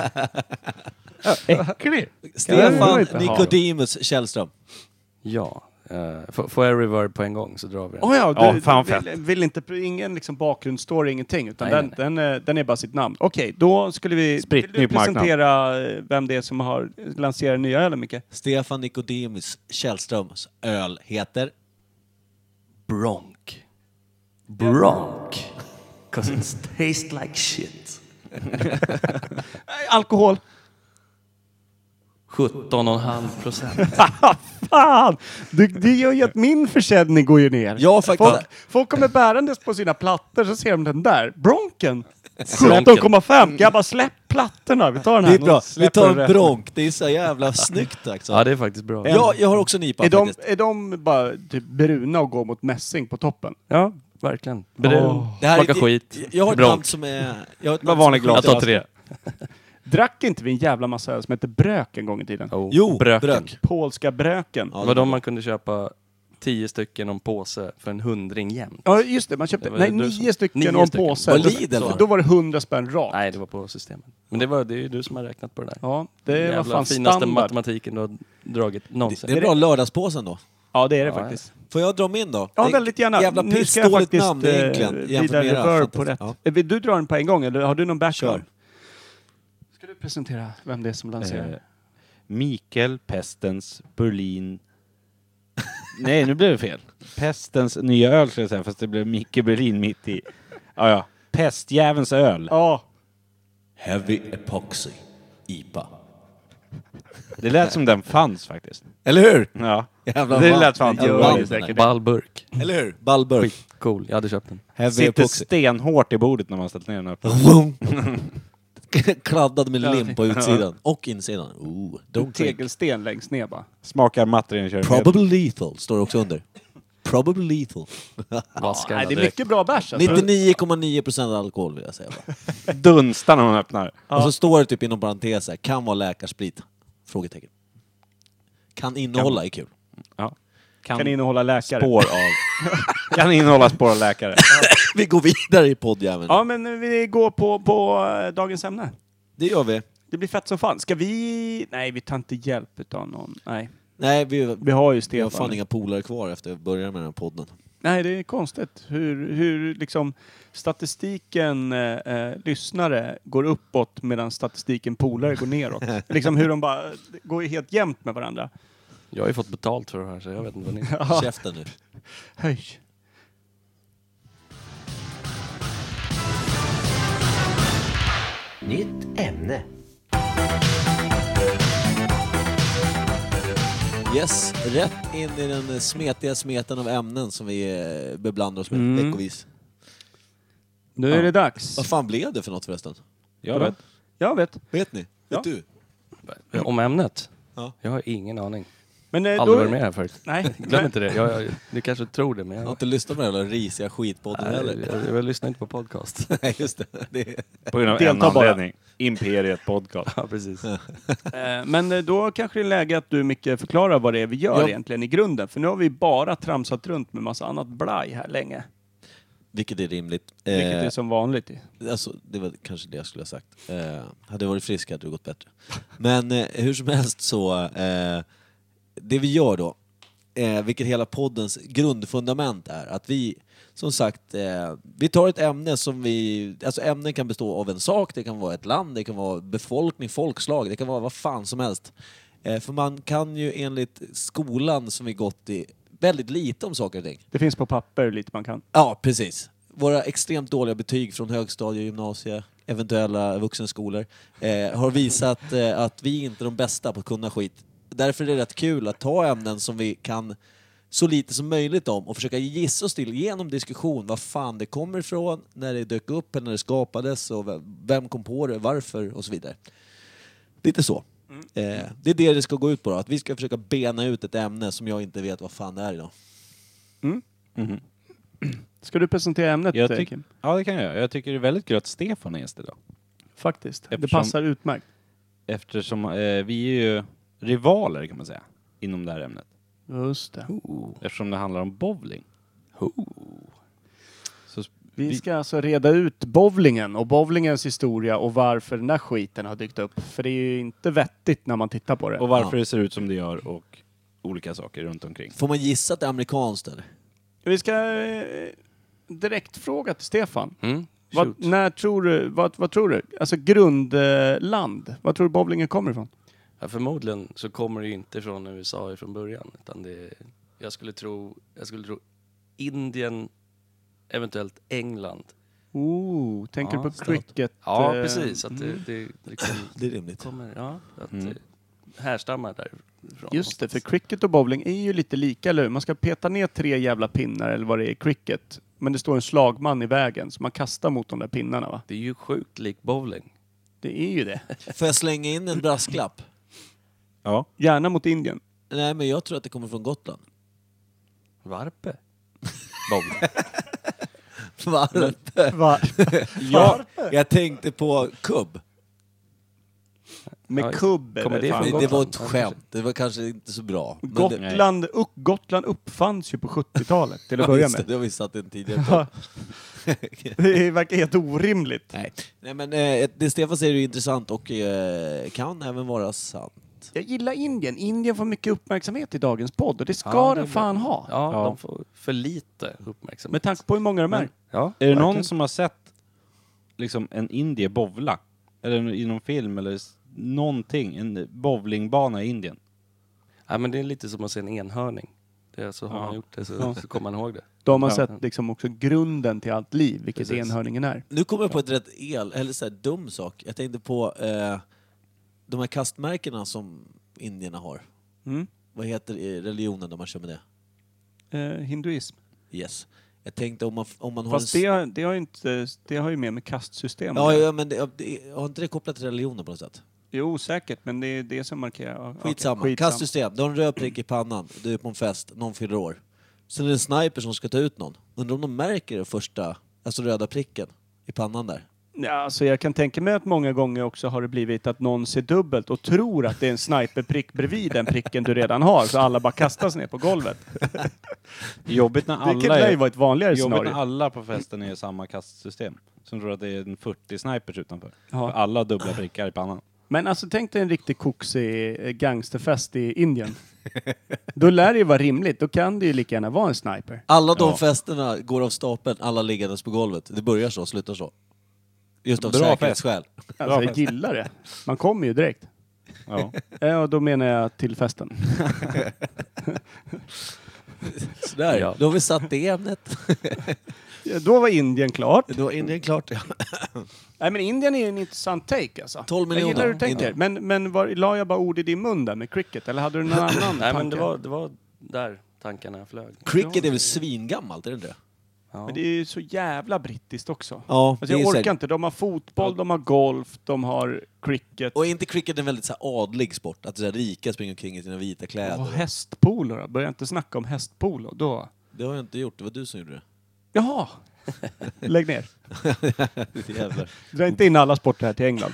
Äcklig!
Stefan
inte ha.
Nicodemus Källström.
<laughs> Ja. eh, får- får jag reverb på en gång så drar vi den.
Oh ja,
Ja,
du
fan vad
vill, vill inte, ingen liksom bakgrundsstory, ingenting. Utan
Nej,
den, Den, eh, den är bara sitt namn. Okej, då skulle vi...
Spritt,
vill
ny
du
på marknaden.
presentera eh, vem det är som har lanserat nya ölen, Micke?
Stefan Nicodemus Källströms öl heter...
Bronk. Bronk. Cause it tastes like shit.
Eh, Alkohol!
17,5 procent.
Fan! Du, det gör ju att min försäljning går ju ner.
Jag har faktiskt...
Folk, folk kommer bärandes på sina plattor så ser de den där. Bronken! 17,5! Jag bara släpp plattorna, vi tar den
Det
här.
är bra. Vi
släpper
tar en
den rätt.
bronk. Det är så
<laughs>
jävla snyggt alltså.
Ja, det är faktiskt bra.
jag, jag har också en IPA
Är de,
faktiskt.
är de bara typ bruna och går mot mässing på toppen?
Ja, verkligen. Brun,
Åh.
Det här är-
smakar skit.
Jag har ett
Bronk.
namn som är... Jag har ett namn
Vad
som är
vanlig glas.
Jag
sjukt-
tar tre.
Drack inte vi en jävla massa öl som hette Brök en gång i tiden?
Oh,
Jo,
bröken.
brök.
Polska Bröken.
Ja,
Det var de man kunde köpa tio stycken om påse för en hundring jämnt.
Ja, just det. Man köpte
Det var
nej,
du
nio
som-
stycken
nio
och en
stycken.
påse.
Var
Då-
Lidl,
så-
va?
Då var det hundra spänn rakt.
Nej, det var på systemet. Men det, var, det är ju du som har räknat på det där.
Ja, det var
Jävla
Eh, fan
finaste
standard.
matematiken du har dragit
Det,
någonsin.
det är bra lördagspåsen då.
Ja, det är det
Ja,
faktiskt.
Får jag dra min då?
Ja,
Det är
väldigt gärna.
Jävla
nu ska jag
pissdåligt
faktiskt
namn
eh,
egentligen. jämfört
vrida
med era.
reverb på rätt.
Fantastiskt. Ja.
Eh, Vill du dra den på en gång eller har du någon backup?
Kör.
Ska du presentera vem det är som lanserar?
Eh, Mikael Pestens Berlin... <laughs> Nej, nu blev det fel. Pestens nya öl skulle jag säga, fast det blev Micke Berlin mitt i. Ja, ja. Pestjävelns öl.
Ja,
Heavy Epoxy IPA.
Det lät som den fanns faktiskt.
Eller hur?
Ja.
Jävla
Det
ball.
lät fan
Vilken
bra.
ball.
Det är
Ball burk.
Eller hur? Ballburk.
Skitcool. Jag hade köpt den.
Heavy
Sitter
Epoxy.
stenhårt i bordet när man ställt ner den här.
Vroom. <laughs> Kladdad med lim på utsidan och insidan. Ooh, don't drink.
tegelsten längst ner bara.
Smakar materinkörning.
Probably lethal står det också under. Probably lethal.
Vaskar
Nej,
den
det är
direkt.
mycket bra bärs alltså.
99,9% alkohol vill jag säga. bara.
Dunstar när man öppnar.
Och så står det typ inom parentes här, kan vara läkarsprit? Frågetecken. Kan innehålla är kul.
Ja.
Kan innehålla läkare.
spår
<laughs>
av... kan innehålla spår av läkare.
Vi går vidare i poddjäveln.
Ja, men eh, vi går på, på eh, dagens ämne.
Det gör vi.
Det blir fett som fan. Ska vi... Nej, vi tar inte hjälp utav någon. Nej.
Nej, vi,
Vi har ju
vi har
Stefan.
fan inga polare kvar efter att vi började med den här podden.
Nej, det är konstigt hur, hur liksom statistiken eh, eh, lyssnare går uppåt medan statistiken polare går neråt. liksom hur de bara det går ju helt jämnt med varandra.
Jag har ju fått betalt för det här så jag vet inte vad ni...
Käften nu.
Höj.
Nytt ämne.
Yes, rätt in i den eh, smetiga smeten av ämnen som vi eh, beblandar oss med
Mm.
veckovis.
Nu är det dags.
Vad fan blev det för något förresten?
Jag vet.
Jag vet.
Vet ni?
Ja.
Vet du?
Om ämnet?
Ja.
Jag har ingen aning.
Men, eh,
Aldrig varit med här förut.
Nej,
<laughs> Glöm inte det. Jag, jag, du kanske tror det, men
Jag har
jag,
inte lyssnat på den här jävla risiga skitpodden
jag,
heller. <laughs>
jag, jag lyssnar inte på podcast.
Nej, just det. det är...
På grund av
Delta
en
bara.
anledning. Imperiet
<laughs>
podcast.
ja, precis.
Eh, Men eh, då kanske det är läge att du Micke förklarar vad det är vi gör
Ja.
egentligen i grunden. För nu har vi bara tramsat runt med massa annat blaj här länge.
Vilket är rimligt.
Vilket
Eh,
är som vanligt.
Alltså, det var kanske det jag skulle ha sagt. Eh, hade jag varit frisk hade det gått bättre. Men eh, hur som helst så, eh, det vi gör då, eh, vilket hela poddens grundfundament är, att vi som sagt, eh, vi tar ett ämne som vi, alltså ämnen kan bestå av en sak, det kan vara ett land, det kan vara befolkning, folkslag, det kan vara vad fan som helst. Eh, för man kan ju enligt skolan som vi gått i väldigt lite om saker och ting.
Det finns på papper lite man kan.
Ja, precis. Våra extremt dåliga betyg från högstadie, gymnasie, eventuella vuxenskolor eh, har visat eh, att vi inte är de bästa på att kunna skit. Därför är det rätt kul att ta ämnen som vi kan så lite som möjligt om och försöka gissa oss till genom diskussion vad fan det kommer ifrån, när det dök upp eller när det skapades och vem- vem kom på det, varför och så vidare. Lite så. Eh, det är det det ska gå ut på då, att vi ska försöka bena ut ett ämne som jag inte vet vad fan det är idag.
Ska du presentera ämnet
Jag
eh,
tyck-
Kim?
Ja, det kan jag göra. Jag tycker det är väldigt kul att Stefan är gäst idag.
Faktiskt. Det
Eftersom-
passar utmärkt.
Eftersom eh, vi är ju rivaler kan man säga inom det här ämnet.
Just det.
Eftersom det handlar om bowling. Så sp-
Vi
vi-
ska alltså reda ut bowlingen och bowlingens historia och varför den här skiten har dykt upp. För det är ju inte vettigt när man tittar på det.
och varför det ser ut som det gör och olika saker runt omkring.
Får man gissa att det är amerikanskt eller?
Vi ska eh, direkt fråga till Stefan.
Mm.
Vad,
Shoot.
när tror du, vad, vad tror du? Alltså grundland. Eh, land. vad tror du bowlingen kommer ifrån?
Ja, förmodligen så kommer det ju inte från USA från början. Utan det, jag, skulle tro, jag skulle tro Indien, eventuellt England.
Oh, tänker
Ja,
du på
stat.
cricket?
Ja,
eh,
precis. Att det, det, det kom-
Det är rimligt.
kommer, ja, att
Mm.
mm. härstammar därifrån.
Just det, för
någonstans.
cricket och bowling är ju lite lika, eller hur? Man ska peta ner tre jävla pinnar, eller vad det är, i cricket. Men det står en slagman i vägen, så man kastar mot de där pinnarna, va?
Det är ju sjukt lik bowling.
Det är ju det.
Får jag slänga in en brasklapp?
Ja.
Gärna mot Indien.
Nej, men jag tror att det kommer från Gotland.
<laughs>
Varpe? Bowling.
Varpe.
<laughs> Ja,
Jag tänkte på kubb.
med
Ja,
kubb
kommer
eller
det
fan.
från
Det, det var ett
Gotland, ja,
skämt. Det var kanske inte så bra. Men det-
Gotland, upp, Gotland uppfanns ju på 70-talet,
<laughs>
till att
Jag
börja
visste,
med.
det har vi satt en tidigare
<laughs>
på.
Det verkar helt orimligt.
Nej. Nej, men eh, det Stefan säger är ju intressant och eh, kan även vara sant.
Jag gillar Indien. Indien får mycket uppmärksamhet i dagens podd och det ska
Ja, det
den
blir-
fan ha.
Ja,
Ja.
de får för lite uppmärksamhet.
Med tanke på hur många de är.
Men- ja.
Är det någon
Verkligen.
som har sett liksom en indie bowla? Eller i någon film eller s- någonting? En bowlingbana i Indien?
ja, men det är lite som att se en enhörning. Det är, så har
Ja.
man gjort det så,
Ja.
så kommer man ihåg det.
Då har man
Ja.
sett liksom också grunden till allt liv, vilket
Precis.
enhörningen är.
Nu kommer jag på ett rätt el, eller så här, dum sak. Jag tänkte på eh, de här kastmärkena som indierna har.
Mm.
Vad heter eh, religionen när man kör med det?
Eh, hinduism.
Yes. Jag tänkte om man, om man har
Fast det, har- det, har ju inte, det har ju mer med kastsystem
Ja,
att göra.
ja men det, ja, det, har inte det kopplat till religionen på något sätt?
Jo, säkert, men det är det som markerar. ja, okej,
Skitsamma. Kastsystem. Du har en röd prick i pannan, du är på en fest, någon fyller år. Sen är det en sniper som ska ta ut någon. Undrar om de märker den första, alltså röda pricken i pannan där.
Ja, alltså jag kan tänka mig att många gånger också har det blivit att någon ser dubbelt och tror att det är en sniperprick bredvid den pricken du redan har, så alla bara kastas ner på golvet.
Jobbigt när
Det
alla
kan ju
är,
vara ett vanligare
jobbigt när
scenario.
alla på festen är i samma kastsystem. Som tror att det är en 40 snipers utanför.
Ja.
För alla har dubbla prickar i pannan.
Men alltså tänk dig en riktig koksig eh, gangsterfest i Indien. Då lär det ju vara rimligt, då kan det ju lika gärna vara en sniper.
Alla de
Ja.
festerna går av stapeln, alla liggandes på golvet. Det börjar så, slutar så. Just av
Bra
säkerhetsskäl.
Alltså jag gillar det. Man kommer ju direkt.
Ja.
Ja, och då menar jag till festen.
Sådär,
Ja.
då har vi satt det ämnet.
Då var Indien klart.
Då är <laughs> det klart.
Nej men Indien är ju en intressant take alltså.
12
Jag gillar
miljoner.
hur du tänker. Men, men var, la jag bara ord i din mun där med cricket? Eller hade
<clears throat>
du någon annan
Nej men det
tanke?
var, det var där tankarna flög.
Cricket är väl svingammalt, är det inte det?
Ja.
Men det är ju så jävla brittiskt också.
Ja,
Alltså jag orkar inte. De har fotboll, de har golf, de har cricket.
Och är inte cricket en väldigt så här adlig sport? Att så här, rika springer omkring i sina vita kläder?
Och hästpolo då? Börja inte snacka om hästpolo. Då...
Det har jag inte gjort, det var du som gjorde det. <laughs>
Jaha! Lägg ner.
Jävlar.
Dra inte in alla sporter här till England.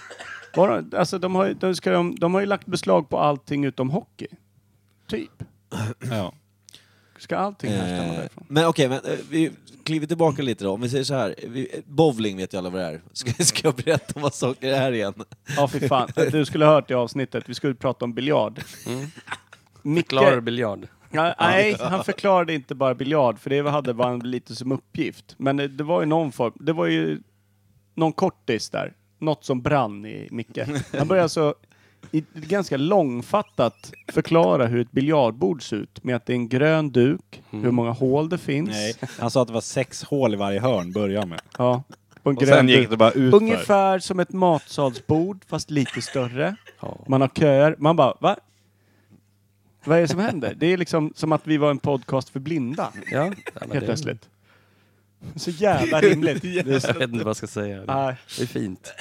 Bara, alltså, de, har, ju- de, ska, de, de har ju lagt beslag på allting utom hockey. Typ.
Ja.
Ska allting härstamma
Eh,
därifrån?
men okej, men eh, vi kliver tillbaka lite då. Om vi säger så här, vi, eh, bowling vet ju alla vad det är. Ska, ska jag berätta om vad saker är igen?
Ja, fy fan. Du skulle ha hört i avsnittet. Vi skulle prata om biljard.
Mm.
Micke,
Klar biljard.
<laughs>
Ja, nej, han förklarade inte bara biljard, för det hade han lite som uppgift. Men det, det var ju någon form, det var ju någon kortis där. Något som brann i Micke. Han började alltså i, ganska långfattat förklara hur ett biljardbord ser ut. Med att det är en grön duk, hur många hål det finns.
Mm. Nej, han sa att det var sex hål i varje hörn, börja med.
Ja, på en
Och
grön
sen
duk.
gick det bara ut för.
Ungefär som ett matsalsbord, fast lite större. Man har köer. Man bara, va? Vad är det som händer? Det är liksom som att vi var en podcast för blinda.
Ja. Nej, men
Helt
det,
plötsligt. Så jävla <laughs>
<laughs>
rimligt.
Jag vet inte vad jag ska säga.
Nej.
Det är fint.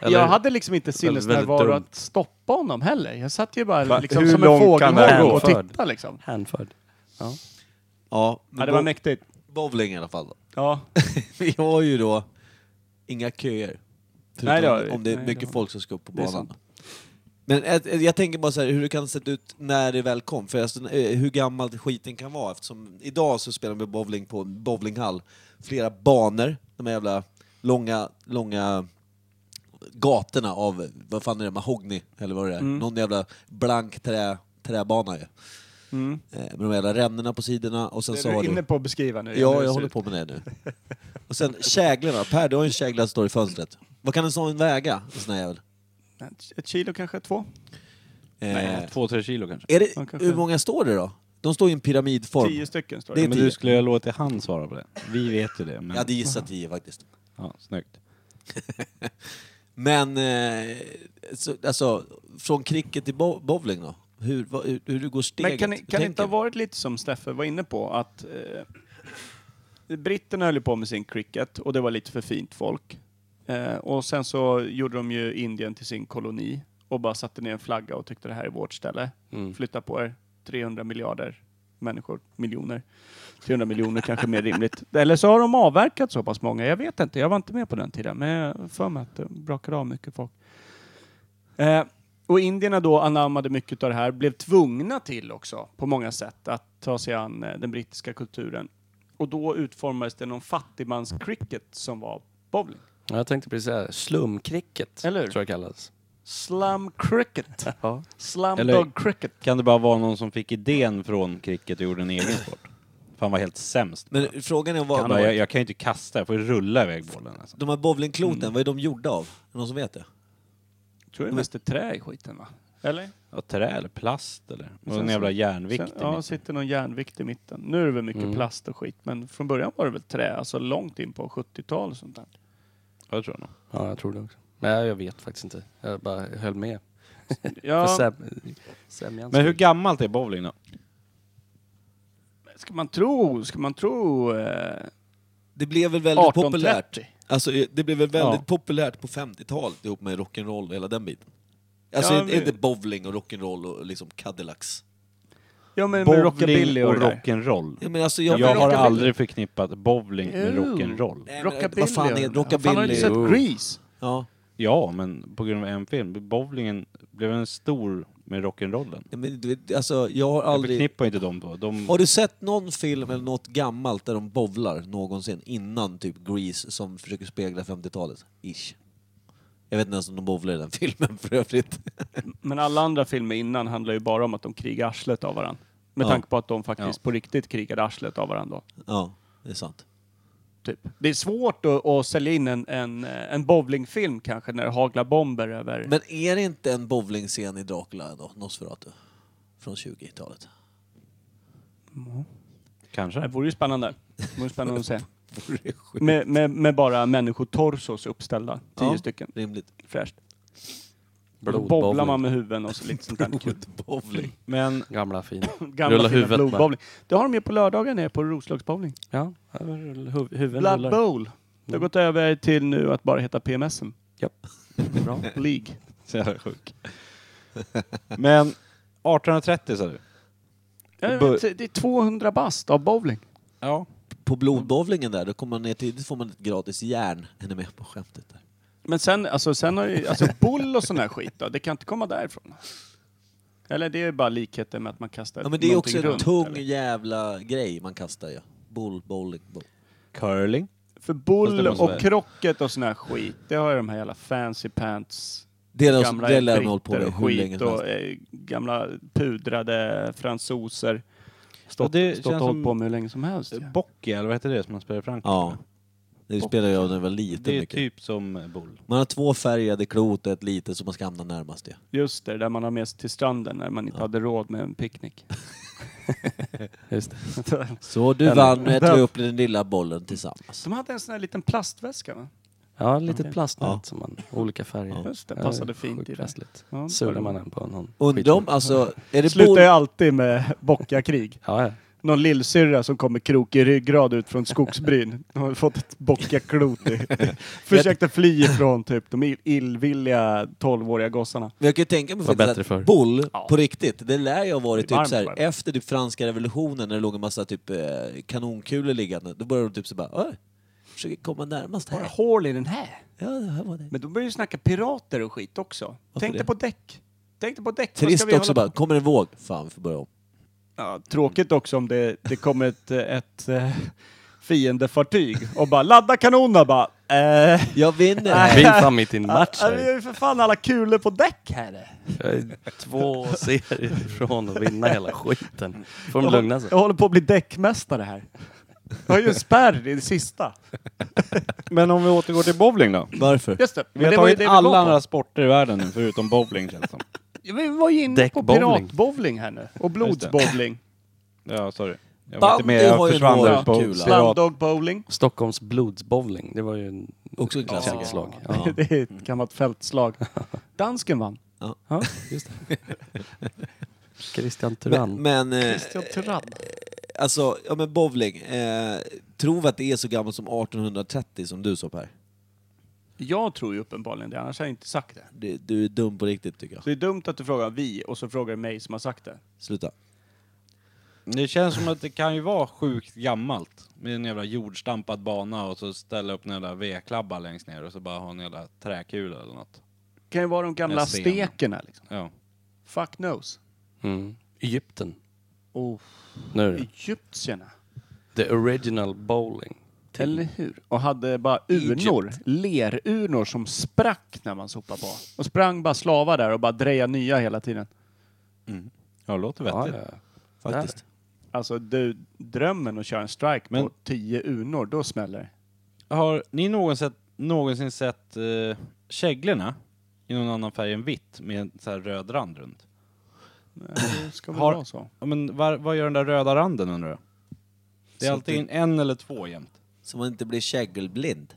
jag hade liksom inte sinnesnärvaro
väldigt dumt.
att stoppa honom heller. Jag satt ju bara
Va,
liksom
hur
som en
långt kan det här
fågelholk
gå?
och tittade liksom.
Hänförd.
Ja,
Ja,
men
det var
bo-
mäktigt.
bowling i alla fall. då.
Ja.
<laughs> Vi har ju då inga köer.
Nej, det har vi.
Förutom om det är
Nej,
mycket
det har vi.
folk som ska upp på
Det är
banan.
sant.
Men ett- ett- jag tänker bara så här, hur det kan se ut när det väl kom. För alltså, eh, hur gammal skiten kan vara. Eftersom idag så spelar vi bowling på en bowlinghall. Flera banor, de här jävla långa, långa gatorna av, vad fan är det, mahogny eller vad det är. Någon jävla blank trä, träbana ju.
Mm.
Eh, Med de jävla rännorna på sidorna och sen
Det
så
är
har
du
du...
inne på att beskriva nu.
Ja, jag håller på med det nu. Och sen käglorna. Per, du har ju en kägla som står i fönstret. Vad kan en sån väga? En sån här jävel?
Ett kilo kanske, två?
Eh,
Två, tre kilo kanske.
är det,
Ja, kanske.
hur många står det då? De står i en pyramidform.
Tio stycken står
Det
det.
är
Men
tio.
du skulle ha låtit han svara på det. Vi vet ju det.
Jag
Men...
hade gissat tio faktiskt.
Ja, snyggt.
Men, eh, så, alltså, från cricket till bo- bowling då? Hur, vad, hur, hur du går steget?
Men kan, ni-
Hur
kan det
tänker
inte ha
du?
varit lite som Steffe var inne på att eh, britterna höll ju på med sin cricket och det var lite för fint folk. Eh, och sen så gjorde de ju Indien till sin koloni och bara satte ner en flagga och tyckte det här är vårt ställe.
Mm.
Flytta på er 300 miljarder människor, miljoner. 300 miljoner kanske mer <laughs> rimligt. Eller så har de avverkat så pass många. Jag vet inte, jag var inte med på den tiden. Men jag har för mig att det brakade av mycket folk. Eh, och indierna då anammade mycket av det här, blev tvungna till också på många sätt att ta sig an eh, den brittiska kulturen. Och då utformades det någon fattigmanscricket som var bowling.
Ja, Jag tänkte precis säga slumkricket.
Eller hur?
Tror jag kallas.
Slum <laughs> cricket.
Ja.
Eller-
Slumdog cricket.
Kan det bara vara någon som fick idén från cricket och gjorde en egen sport? För han var helt sämst.
Men frågan är vad...
Kan jag, jag kan ju inte kasta, jag får ju rulla iväg bollen. Alltså.
De här bowlingkloten,
Mm.
vad är de gjorda av? Är det någon som vet det?
Tror det är mest trä i skiten va? Eller?
Ja, trä eller plast eller? Och
Sen
en
så-
jävla järnvikt
Sen,
i
ja,
mitten. Mm.
sitter någon järnvikt i mitten. Nu är det väl mycket plast och skit, men från början var det väl trä, alltså långt in på 70-tal och sånt där.
Ja, det tror jag nog.
ja, jag tror det också. Nej, jag vet faktiskt inte. Jag bara höll med. För
Ja,
säm- sämjans
Men hur
skull.
gammalt är bowling då?
ska man tro, ska man tro eh,
Det blev väl väldigt populärt?
1830?
Alltså, det blev väl väldigt
Ja.
populärt på 50-talet ihop med rock'n'roll och hela den biten. Alltså,
Ja,
är-
men-
är det bowling och rock'n'roll och liksom Cadillacs?
Ja, men med rockabilly
Bowling
och,
och
det där.
rock'n'roll.
Ja, men alltså,
Jag,
jag
har
rockabilly.
aldrig förknippat bowling med
Jo.
rock'n'roll.
Nej, men
Rockabilly.
Vad fan är
och- Fan, har du
rockabilly?
inte
Oh.
sett Grease?
Ja.
Ja, men på grund av en film. Bowlingen blev en stor med rock'n'rollen.
Ja, Men, du vet, alltså, jag har
Jag
aldrig...
förknippar inte de två. De,
Har du sett någon film eller något gammalt där de bowlar någonsin innan typ Grease som försöker spegla 50-talet? Ish. Jag vet inte ens om de bowlar i den <laughs> filmen för övrigt.
Men alla andra filmer innan handlar ju bara om att de krigar arslet av varandra. Med
Ja.
tanke på att de faktiskt på riktigt krigade arslet av varandra. då,
ja, det är sant.
Typ. Det är svårt att, att sälja in en, en, eh, en bowlingfilm kanske när det haglar bomber över...
Men är det inte en bowlingscen i Dracula ändå? Nosferatu? Från <laughs> 20-talet?
Det
<laughs>
Kanske.
vore ju spännande. Det vore spännande att se. Med, med, med bara människotorsos uppställda. Tio
Ja.
stycken.
Rimligt.
Fräscht. Då bobblar
Blodbowling.
man med huvuden och så
<laughs>
lite sånt där kul.
Bowling.
Men
Gamla fina.
Gamla
Rulla
fina
huvudet med.
blodbowling. Det har de ju på lördagar nere på Roslagsbowling.
Ja, här är huv- huvuden
Blood
rullar.
Bowl. Det
Mm.
har gått över till nu att bara heta PMSen.
Japp.
<laughs> Bra.
<laughs>
League.
så jävla sjuk. Men 1830 sa du?
Ja, jag
Bör-
vet, Det är 200 bast av bowling.
Ja.
På blodbowlingen där, då kommer man ner tidigt får man ett gratis järn. Är ni med på skämtet där?
Men sen, alltså, sen har ju, alltså boll och sån här skit då, det kan inte komma därifrån. Eller det är ju bara likheten med att man kastar
Ja men det är också en
någonting runt,
tung
eller?
jävla grej man kastar ju. Bull, bowling, bowl.
Curling?
För
Fast
boll
det måste
och
vara-
krocket och sån här skit, det har ju de här jävla fancy pants,
Det är alltså,
gamla
det lär de hålla på
britter
med
och
hur länge
skit
som
och
helst.
eh, gamla pudrade fransoser. Stått,
det
stått
känns
och hållit
som- Eh,
på med hur länge som helst. ja.
Bocky, eller vad heter det som man spelar i Frankrike?
Ja. Det spelade jag när jag var liten
Det är
mycket.
typ som boll.
Man har två färgade klot och ett litet som man ska hamna närmast ju.
Just det, där man har med sig till stranden när man inte hade råd med en picknick.
Just det.
Så du
Eller-
vann med att du upp den lilla bollen tillsammans.
De hade en sån här liten plastväska va?
Ja, ett litet plastnät
Ja.
som man, olika färger.
Just det, passade fint i det.
Festligt.
Ja, det var
Sugde
det.
man den på någon
Undra om,
skitfilm.
alltså, är det
Slutar
boll...
ju alltid med bockakrig.
Ja, ja.
Någon lillsyrra som kommer krokig i ryggrad ut från <laughs> skogsbryn. De har fått ett bockaklot i. <laughs> Försökte fly ifrån typ de ill- illvilliga tolvåriga gossarna.
Men jag kan ju tänka mig
Var
faktiskt
bättre
att
förr.
boll,
Ja.
på riktigt, det lär ju ha varit
Det
typ
är varmt
så här,
varmt.
efter typ franska revolutionen när det låg en massa typ eh, kanonkulor liggande, då började de typ så bara Åh, försöker komma närmast
Har jag
här.
hål i den här?
Ja, det här var det.
Men då börjar ju snacka pirater och skit också. Tänk
det?
dig på däck. Tänk dig på däck. Vad ska
Trist
vi
också
hålla
bara, kommer en våg? Fan, vi får börja om.
Ja, tråkigt också om det, det kommer ett, eh, ett eh, fiendefartyg och bara ladda kanonerna bara. Eh,
Jag vinner!
Vi
här.
är fan mitt i en match
ja, vi har
här.
ju för fan alla kulor på däck här.
Jag är två serier ifrån att vinna hela skiten. Får de lugna sig.
Jag håller på att bli däckmästare här. Jag har ju en spärr i det sista.
Men om vi återgår till bowling då?
Varför?
Just det.
Vi har
det var ju
tagit
det vi
alla
var på.
andra sporter i världen nu förutom bowling känns det som.
Ja, men Vi var ju inne på
Däckbowling.
piratbowling här nu.
<laughs>
Och blodsbowling.
Ja, sorry. Jag var
Bandy
inte med, jag
har ju en
försvann där
bra
på
kula.
pirat.
Slanddog-bowling.
Stockholms blodsbowling, det var ju en
Också en klassiker.
fältslag. Ja.
Ja.
<laughs> Det är ett gammalt fältslag. Dansken vann.
Ja, just det. <laughs> Christian Turan.
Men, men eh,
Christian Tyrann.
alltså, ja men bowling, eh, tror vi att det är så gammalt som 1830 som du sa Per?
Jag tror ju uppenbarligen det, annars hade jag inte sagt det.
Du, du är dum på riktigt tycker jag.
Så det är dumt att du frågar vi och så frågar du mig som har sagt det.
Sluta.
Det känns som att det kan ju vara sjukt gammalt. Med en jävla jordstampad bana och så ställa upp en jävla vedklabba längst ner och så bara ha en jävla träkula eller något.
Det kan ju vara de gamla
Jag ser den.
stekerna liksom.
Ja.
Fuck knows.
Mm. Egypten.
Oh.
Nu är det.
Egyptierna.
The original bowling.
Eller hur? Och hade bara urnor, lerurnor som sprack när man sopade på. Och sprang bara slavar där och bara dreja nya hela tiden.
ja, det låter
Ja,
vettigt.
ja. ja.
Faktiskt.
Alltså du, drömmen att köra en strike
Men-
på 10 urnor, då smäller det.
Har ni någonsin, någonsin sett eh, käglorna i någon annan färg än vitt med en så här röd rand runt?
Nej, Det ska väl
Har-
vara så.
Ja, men var, vad gör den där röda randen undrar jag? Det är
Så
alltid
det-
en eller två jämt.
Så man inte blir kägelblind.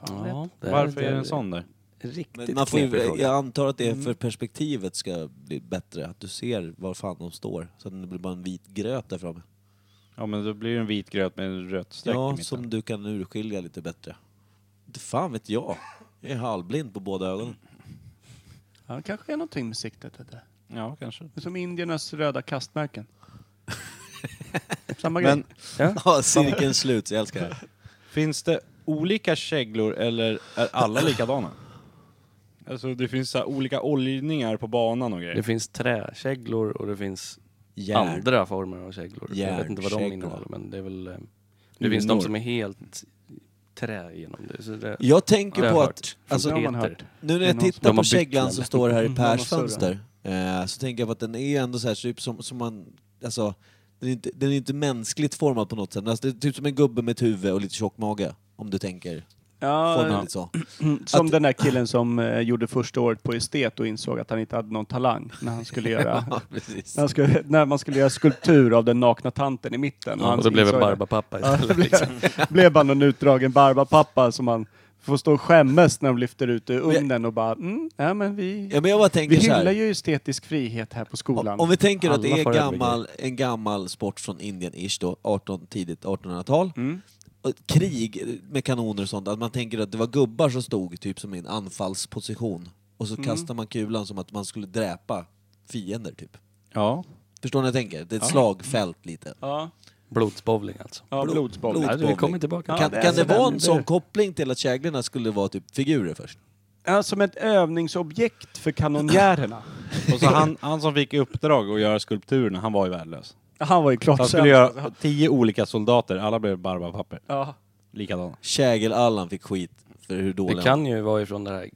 Fan,
Ja, det här-
Varför
det
är det
här
en sån där?
Men
Riktigt
man får ju,
knepig fråga.
jag antar att det är för perspektivet ska bli bättre, att du ser var fan de står. Så att det blir bara en vit gröt där framme.
Ja men då blir det en vit gröt med en röd streck i
Ja,
mitten.
som du kan urskilja lite bättre. Inte fan vet jag. Jag är halvblind på båda ögonen.
Ja, det kanske är någonting med siktet. Vet du.
Ja, kanske.
Det är Som indiernas röda kastmärken. Samma grej.
Men
Ja, cirkeln sluts. Jag älskar det. här.
finns det olika käglor eller är alla likadana? Alltså det finns så här olika oljningar på banan och
Det
grejer.
finns träkäglor och det finns
Järn.
andra former av käglor. Jag vet inte vad de
Järnkäglor.
innehåller men det är väl... eh, Det finns de
Minor.
som är helt trä genom det. Så det
Jag
det
tänker
har
på
jag
att,
från
alltså,
har man
Peter.
hört.
nu när
Det är
jag
någon som-
tittar
De
på
har bytt
käglan
kläder.
som står här i
har
Pers
surrat.
fönster, eh, så tänker jag på att den är ändå så här, typ som, som man, alltså, den är, inte, den är inte mänskligt formad på något sätt. Men Alltså, det är typ som en gubbe med ett huvud och lite tjock mage, om du tänker
Ja,
Formellt så.
Som
Att-
den där killen som eh, gjorde första året på estet och insåg att han inte hade någon talang när han skulle göra
Ja, precis.
när, han skulle, när man skulle göra skulptur av den nakna tanten i mitten.
Ja,
han
och då blev det
insåg det.
barbapappa
Ja,
istället.
det
liksom.
blev, <laughs> blev bara någon utdragen barbapappa som man får stå och skämmas när de lyfter ut ur ugnen och bara mm, ja, men vi,
Ja, men jag bara
vi
tänker så
hyllar
här.
ju estetisk frihet här på skolan.
Om vi tänker att det
Alla
är
får övergrepp.
gammal, en gammal sport från Indien-ish då, 18, tidigt 1800-tal.
Mm.
Och ett Krig med kanoner och sånt, att man tänker att det var gubbar som stod typ som i en anfallsposition. Och så kastar man kulan som att man skulle dräpa fiender typ.
Ja.
Förstår ni vad jag tänker? Det är ett slagfält lite.
Ja,
Blodsbowling alltså.
ja
Blod-
blodsboll.
blod-
Nej,
Blodsbowling.
du kommer tillbaka.
kan
det är
kan
så
det vara
den-
en
det-
sån koppling till att käglorna skulle vara typ figurer först?
Ja, som ett övningsobjekt för kanonjärerna.
Och så han, han som fick i uppdrag att göra skulpturerna, han var ju värdelös.
Han var ju klart
Så han skulle
sämst.
göra tio olika soldater, alla blev barbapapper.
Ja.
Likadana.
Kägel-Allan fick skit för hur dålig
Det
han
kan ju vara ifrån det här,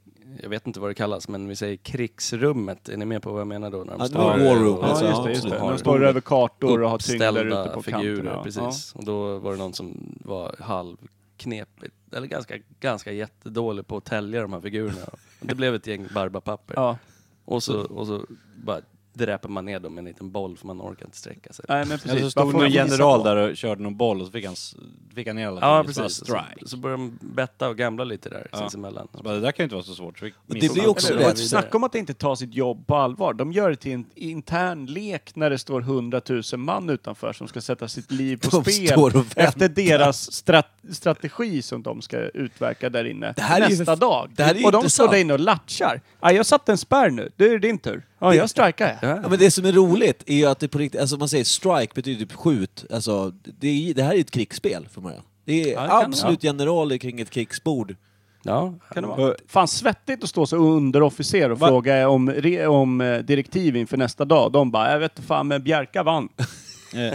jag vet inte vad det kallas, men vi säger krigsrummet. Är ni med på vad jag menar då? När de
Ja, det
står
var
där
war room,
och-
Ja,
alltså,
just det. Just det.
absolut.
De står över kartor och har tyngder ute
uppställda
på
figurer,
kanterna.
precis. Och då var det någon som var halvknepigt, eller ganska, ganska jättedålig på att tälja de här figurerna. Det blev ett gäng barbapapper.
Ja.
Och, så, och så bara dräper man ner dem med en liten boll för man orkar inte sträcka sig.
Nej,
Alltså,
Eller
men
så
precis. Bara
Alltså, stod
får
någon
visa
general
på.
där och körde någon boll och så fick han, s- fick han ner alla.
Ja,
Så bara
precis. Så,
Strike.
så börjar de betta och gamla lite där
Ja.
sinsemellan.
Så bara, det där kan ju inte vara så svårt. Så fick
det
missa
blir
han.
också
Eller hur?
rätt.
Snacka om att inte ta sitt jobb på allvar. De gör det till en intern lek när det står 100 000 man utanför som ska sätta sitt liv på
De står
spel
och
efter deras strat- strategi som de ska utverka där inne
här är ju
nästa
för-
dag.
det här är ju
och de
intressant.
står där inne och latchar. Ja, jag satte en spärr nu. Nu är det din tur. Ja, jag strikar. Ja.
Ja, men det som är roligt är ju att det på riktigt, alltså man säger strike betyder typ skjut, alltså det, är, det här är ju ett krigsspel för början. Det är
det kan det
absolut generaler kring ett krigsbord.
Ja,
Kan det vara? Fan svettigt att stå som underofficer och fråga om, re, om eh, direktiv inför nästa dag. De bara, jag vet inte fan men
<laughs>
Bjärka vann. <laughs>
Eh,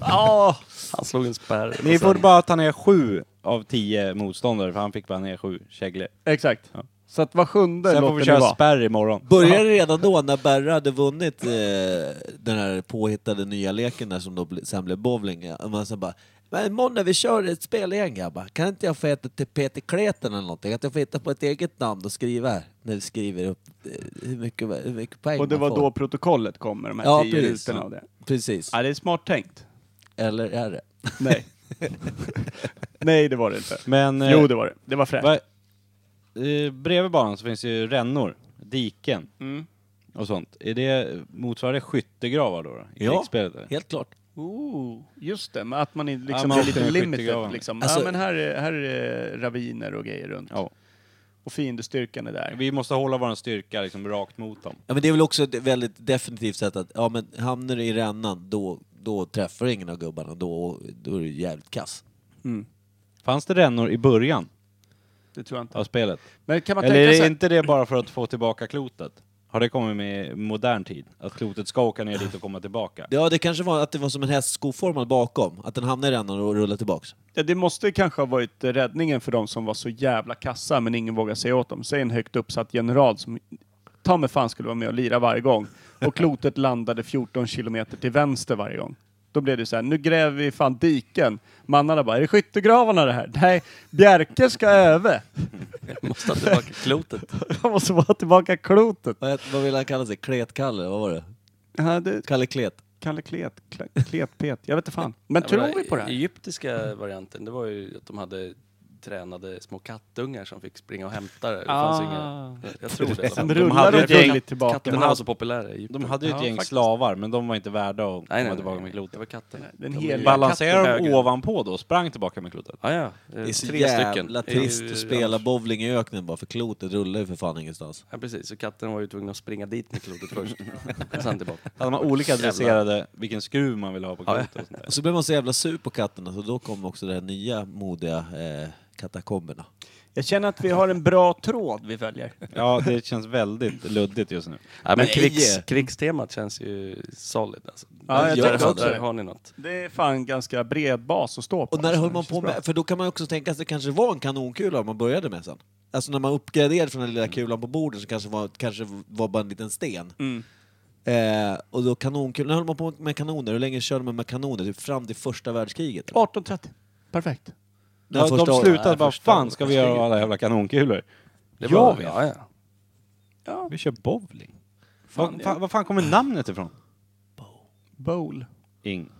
Ja,
han slog en spärr.
Ni
och
får
sen-
bara ta ner sju av tio motståndare, för han fick bara ner sju käglor.
exakt. Så att var sjunde
Sen
låter
får vi köra
det vara.
spärr imorgon.
Började redan då när Berra hade vunnit eh, den här påhittade nya leken där som då ble, sen blev bowling. ja. Och Man så bara, men imorgon när vi kör ett spel igen grabbar, kan inte jag få heta till Peter Kleten eller någonting? Att jag får hitta på ett eget namn och skriva här, när vi skriver upp eh, hur mycket, hur mycket poäng
Och det
man
var
får.
då protokollet kom med de här
Ja,
tio
precis.
rutorna och det.
Precis.
Ja, det är smart tänkt.
Eller är det?
Nej. Nej, det var det inte.
Men eh,
Jo, det var det. Det var fräscht.
va, eh, bredvid banan så finns ju rännor, diken
Mm.
och sånt. Är det, motsvarar det skyttegravar då? då I
Ja.
krigsspelet? eller?
Helt klart.
Ooh, just det, men att man inte- liksom
Ja, man
är
åker
lite
i
limited.
skyttegraven.
Liksom.
Alltså-
ja, men här är, här är raviner och grejer runt.
Ja.
Och fiendestyrkan är där.
Vi måste hålla vår styrka liksom rakt mot dem.
Ja, men det är väl också ett väldigt definitivt sätt att, ja men hamnar du i rännan då, då träffar du ingen av gubbarna, då, då är du jävligt kass.
Fanns det rännor i början
Det tror jag inte.
av spelet?
Men kan man
Eller
tänka
är
så
det
här-
inte det bara för att få tillbaka klotet? Har det kommit med i modern tid? Att klotet ska åka ner dit och komma tillbaka?
Ja, det kanske var att det var som en hästskoformad bakom, att den hamnar i rännan och rullar tillbaks.
Ja, det måste kanske ha varit eh, räddningen för de som var så jävla kassa men ingen vågar säga åt dem. Säg en högt uppsatt general som ta mig fan skulle vara med och lira varje gång. Och klotet landade 14 kilometer till vänster varje gång. Då blev det så här, nu gräver vi fan diken. Mannarna bara, är det skyttegravarna det här? Nej, Bjerke ska <laughs> över.
<laughs> Måste ha tillbaka klotet.
Han måste vara tillbaka klotet.
Vad, het- vad ville han kalla sig? Klet-Kalle? Vad var det?
Ja, det,
Kalle Klet?
Eh,
Kalle Klet, Kla- Kletpet, jag vet inte fan. Men
Jag
tror
menar,
vi på det här?
egyptiska varianten, det var ju att de hade tränade små kattungar som fick springa och hämta det. Det
Ah.
fanns inga... jag- Jag tror det.
Som
De
rullar
hade
och
ett gäng-
gulligt tillbaka.
Katterna var så populära i Egypten.
De hade ju ett
Ja,
gäng
faktiskt.
slavar, men de var inte värda att
Nej,
komma
nej,
tillbaka
nej,
med
nej. Det
klotet.
var katterna.
Den
De
heliga
blev-
Balanserade de
höger.
ovanpå då? och Sprang tillbaka med klotet?
Ah, Ja, ja.
Det är så
Tre
jävla
stycken.
trist
I-
att spela bowling i öknen bara, för klotet rullar ju för fan ingenstans.
Ja, precis. Så katterna var ju tvungna att springa dit med klotet först. och sen tillbaka.
Hade man olika
Jävlar.
dresserade vilken skruv man ville ha på
Ja, ja.
klotet? Och sånt där.
Och så blev man så jävla sur på katterna, så då kom också det här nya modiga eh, katakomberna.
Jag känner att vi har en bra tråd vi följer.
Ja, det känns väldigt luddigt just nu.
Ja, men
Nej.
krigs, krigstemat känns ju solid. Alltså.
Ja, jag
där,
tycker
har,
också
där
det.
har ni något.
Det är fan ganska bred bas att stå på.
Och när
alltså.
höll man
Det
på
känns bra.
med, för då kan man ju också tänka sig att det kanske var en kanonkula man började med sen. Alltså när man uppgraderade från den
Mm.
lilla kulan på bordet så kanske var, kanske var bara en liten sten.
Mm.
Eh, och då kanonkulor, när höll man på med kanoner? Hur länge körde man med kanoner? Typ fram till första världskriget?
18.30. Perfekt.
Den här
de de
första-
slutade bara,
första-
fan ska vi göra av alla jävla kanonkulor?
Det
Ja,
var,
vi-
ja, ja.
Vi kör bowling. Fan, fan, var fan kommer namnet ifrån?
Bowl.
Ing.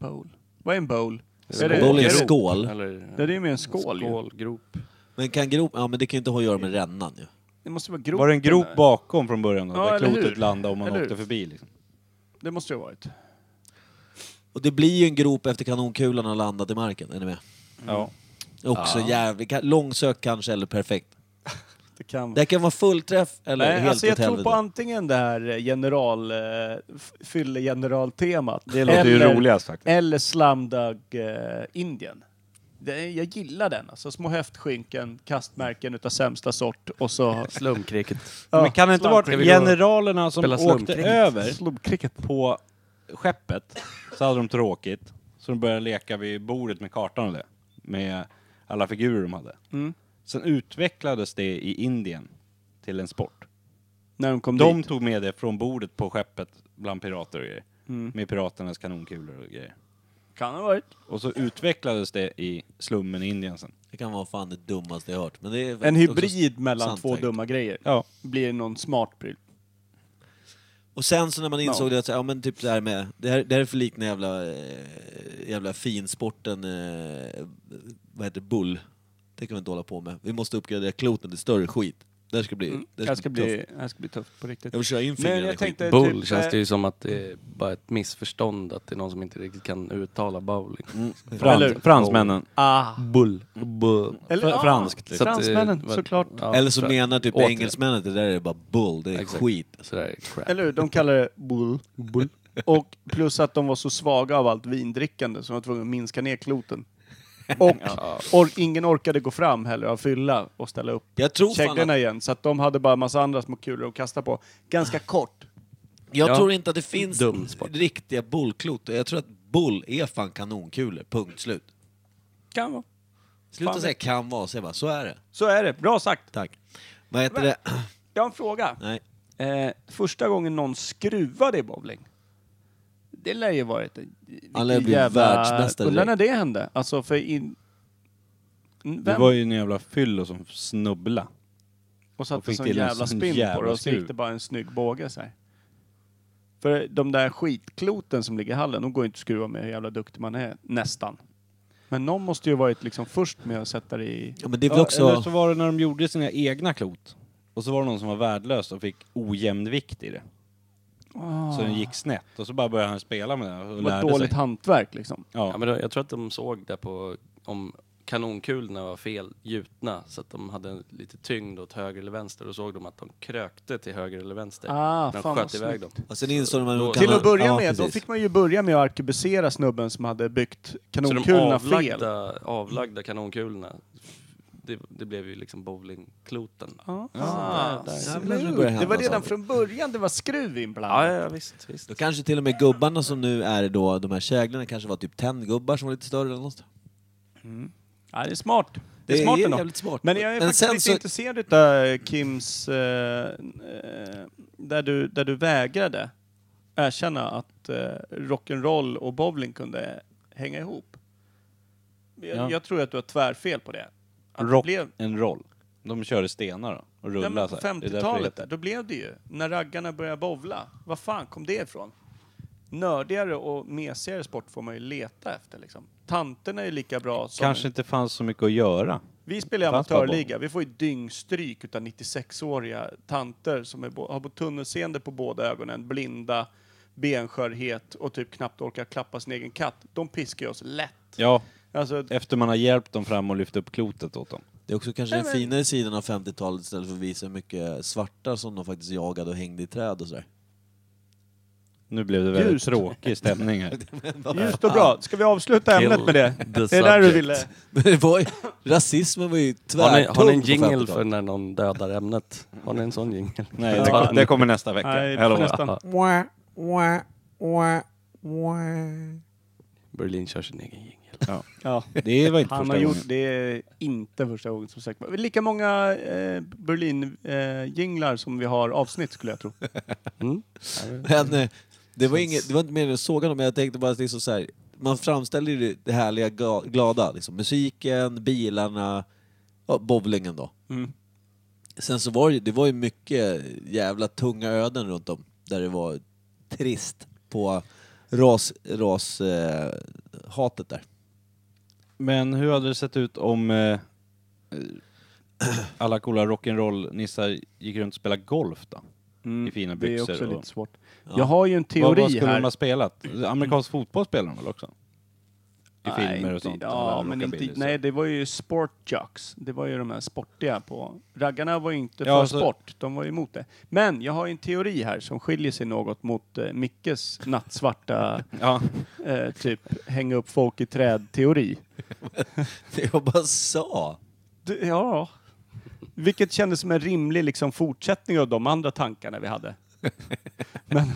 Bowl. Vad är en bowl?
Är det-
Boll i en
grop?
skål.
Eller,
Det är ju mer en skål, ju.
grop.
Men kan grop... Ja, men det kan ju inte ha att göra med rännan ju.
Det måste vara grop.
Var det en grop bakom från början då?
Ja,
där
eller hur?
klotet landade om man
Eller
åkte
hur?
förbi liksom.
Det måste det ha varit.
Och det blir ju en grop efter kanonkulan har landat i marken, är ni med?
Ja.
Också jävligt... ka- Långsökt kanske, eller perfekt.
Det kan
Det kan vara fullträff eller
Nej,
helt
alltså jag
åt
tror
helvete.
på antingen det här eh, general, eh, f- fyllegeneraltemat.
Det låter ju
eller-
roligast faktiskt.
Eller slamdug eh, Indien. Det, jag gillar den alltså. Små höftskinken, kastmärken utav sämsta sort och så...
Slumkriket.
Ja,
Men kan det inte vara
slumpkrig.
generalerna som
Spela
åkte
slumpkrig.
över
Slumkriget.
på skeppet så hade de tråkigt. Så de började leka vid bordet med kartan och det. Med alla figurer de hade.
Mm.
Sen utvecklades det i Indien till en sport.
När de kom
De
dit.
tog med det från bordet på skeppet bland pirater och grejer.
Mm.
Med piraternas kanonkulor och grejer.
Kan ha varit.
Och så utvecklades det i slummen i Indien sen.
Det kan vara fan det dummaste jag hört. Men det är
En
också
hybrid mellan
sant
två
säkert.
dumma grejer.
Ja.
Blir någon smart pryl.
Och sen så när man insåg
Ja.
det, att så här, ja men typ det här med, det här, det här är för likt den jävla, eh, jävla finsporten, eh, vad heter det, bull. Det kan vi inte hålla på med. Vi måste uppgradera kloten till större skit. Det här ska bli, Mm. det
Mm, Det
här
här
ska
ska
bli tufft.
bli, det här ska bli tufft på riktigt.
Jag vill köra in fingrarna
Men
i
jag
skiten.
tänkte
Bull
typ,
känns det
eh,
ju som att det är bara ett missförstånd att det är någon som inte riktigt kan uttala bowling.
Mm. Eller-
Frans, fransmännen.
Ah.
Bull. Bull.
Eller, ah.
Fr- franskt liksom.
Så att, eh,
Fransmännen,
vad-
såklart.
ja,
Eller så
fra-
menar typ
återigen.
engelsmännen att det där är bara bull, det är
Exakt.
skit.
Sådär crap.
Eller hur? De kallar det bull. bull. Och plus att de var så svaga av allt vindrickande så de var tvungna att minska ner kloten. Och or ingen orkade gå fram heller av fylla och ställa upp
Jag tror fan
käglorna
att,
igen. Så att de hade bara massa andra små kulor att kasta på. Ganska kort.
jag
Ja.
tror inte att det finns
Dum sport.
riktiga bullklot. Jag tror att bull är fan kanonkulor, punkt slut.
Kan vara.
Sluta
Fan.
säga kan vara, säg bara så är det.
Så är det. Bra sagt.
Tack. Vad heter det? <clears throat>
Jag har en fråga.
Nej.
Eh, första gången någon skruvade i bowling. Det lär ju varit... en-
Han lär ju
vilken
bli världsmästare
Undrar när det hände. Alltså för in...
Det
Vem
var ju en jävla fyllo som snubbla.
Och
Och
satte
fick
sån
till en
jävla
sån
spinn
jävla
på det och så
skruv.
gick det bara en snygg båge så här. För de där skitkloten som ligger i hallen, de går ju inte att skruva med hur jävla duktig man är, nästan. Men någon måste ju varit liksom först med att sätta det i...
Ja, men det är väl
Ja,
också...
Eller så var det när de gjorde sina egna klot. Och så var det någon som var värdelös och fick ojämn vikt i det. Så den gick snett. Och så bara började han spela med den och
Det var ett
lärde
dåligt
sig.
hantverk liksom.
Ja.
Ja, men då, jag tror att de såg det på om kanonkulorna var fel gjutna så att de hade lite tyngd åt höger eller vänster. Då såg de att de krökte till höger eller vänster
Ah,
när de
fan,
sköt
vad
iväg dem.
snyggt.
Och sen insåg de att man
Till
kan
Till
ha-
att börja
ja,
med, då
precis.
fick man ju börja med att arkebusera snubben som hade byggt
Så de
kanonkulorna fel.
avlagda, avlagda kanonkulorna, det, det blev ju liksom bowlingkloten.
Ah,
Ja,
där.
men nu börjar
Det
hända
var redan
saker.
från början det var skruv
Ja,
inblandat.
ja, visst, visst.
Då kanske till och med gubbarna som nu är då, de här käglorna kanske var typ tenngubbar som var lite större eller något.
Ja, det är smart. Det är, smart ändå.
jävligt smart.
Men jag är faktiskt
sen
lite
så,
intresserad utav Kims... Eh, eh, där, du, där du vägrade erkänna att eh, rock'n'roll och bowling kunde hänga ihop. Jag,
Ja.
jag tror att du har tvärfel på det. Att det
Rock
blev,
en roll. De körde stenar då, och
ja,
rullade
men på
så här. Det är därför det
50-talet,
heter-
där, då blev det ju, när raggarna började bowla, vad fan kom det ifrån? Nördigare och mesigare sport får man ju leta efter. Liksom. Tanterna är ju lika bra som...
Kanske inte fanns så mycket att göra.
Vi spelar i
Fast bara boll.
amatörliga. Vi får ju dyngstryk utav 96-åriga tanter som är, bo- har tunnelseende på båda ögonen, blinda, benskörhet och typ knappt orkar klappa sin egen katt. De piskar ju oss lätt.
Ja,
Alltså,
efter man har hjälpt dem fram och lyft upp klotet åt dem.
det är också kanske den finare sidan av 50-talet istället för att visa hur mycket svarta som de faktiskt jagade och hängde i träd och sådär. <laughs>
Nu blev det väldigt
Ljust.
tråkig stämning
<laughs>
här.
just och bra. Ska vi avsluta
Kill
ämnet med det?
the
Det är där du
subject.
ville...
Men det var ju, rasismen var ju
Har ni,
tvärtung
har ni en
på
jingle
50-talet.
för när någon dödar ämnet? Har ni en sån jingle?
Nej, det, kom, det kommer nästa vecka.
Nej,
Jag lovar.
nästan.
Berlin kör sin egen jingle.
Ja.
det var inte
Han
första
har
gången.
gjort, det är inte första gången som sagt. Men Lika många eh, Berlin-jinglar eh, som vi har avsnitt skulle jag
<laughs>
tro.
Mm.
Men eh, det var, inget, det var inte meningen att såga dem, men jag tänkte bara att det är så här, man framställer ju det härliga, ga- glada. Liksom. Musiken, bilarna, ja, bowlingen då.
Mm.
Sen så var det, det var ju mycket jävla tunga öden runt om där det var trist på ras, ras, eh, hatet där. <laughs>
Men hur hade det sett ut om eh, eh, alla coola rock'n'roll-nissar gick runt och spelade golf då?
Mm,
I fina
Det är
byxor
också
och-
lite svårt.
Ja.
Jag har ju en
Vad, vad
teori
skulle de
här.
ha spelat? Amerikansk fotboll spelar de väl också? I
Nej,
filmer och
inte-
sånt?
Ja, men inte,
rockabilly, så.
nej, det var ju sportjocks. Det var ju de här sportiga på... Raggarna var ju inte
Ja,
för
så-
sport, de var ju emot det. Men jag har ju en teori här som skiljer sig något mot eh, Mickes
<laughs>
nattsvarta
Ja,
eh, typ hänga upp folk i träd-teori.
Det jag bara sa.
Du- Ja. Vilket kändes som en rimlig liksom, fortsättning av de andra tankarna vi hade. <laughs> men,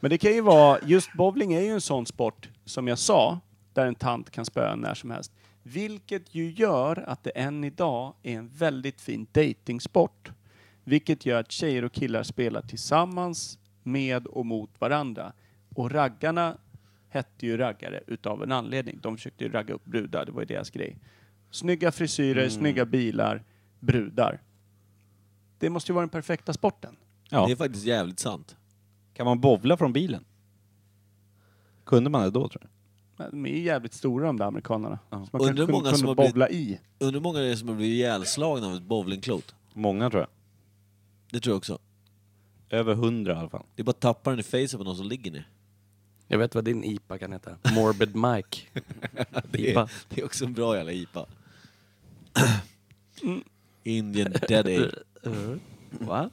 men det kan ju vara, just bowling är ju en sån sport, som jag sa, där en tant kan spöa en när som helst. Vilket ju gör att det än idag är en väldigt fin datingsport. Vilket gör att tjejer och killar spelar tillsammans, med och mot varandra. Och raggarna hette ju raggare utav en anledning. De försökte ju ragga upp brudar, det var ju deras grej. Snygga frisyrer, snygga bilar, brudar. Det måste ju vara den perfekta sporten.
Ja.
Det är faktiskt jävligt sant.
kan man bowla från bilen? Kunde man det då tror jag?
Men De är ju jävligt stora de där amerikanarna. Så man
Undrar
kanske
hur många
kunde,
som
kunde
har blivit-
bowla i.
Undrar hur många det är som har blivit ihjälslagna av ett bowlingklot.
Många tror jag.
Det tror jag också.
Över hundra i alla fall.
Det är bara att tappa den i facet på någon som ligger ner.
Jag vet vad din IPA kan heta. Morbid Mike. IPA.
Det är också en bra jävla IPA.
Mm.
Indian Dead Ale.
<laughs>
Va?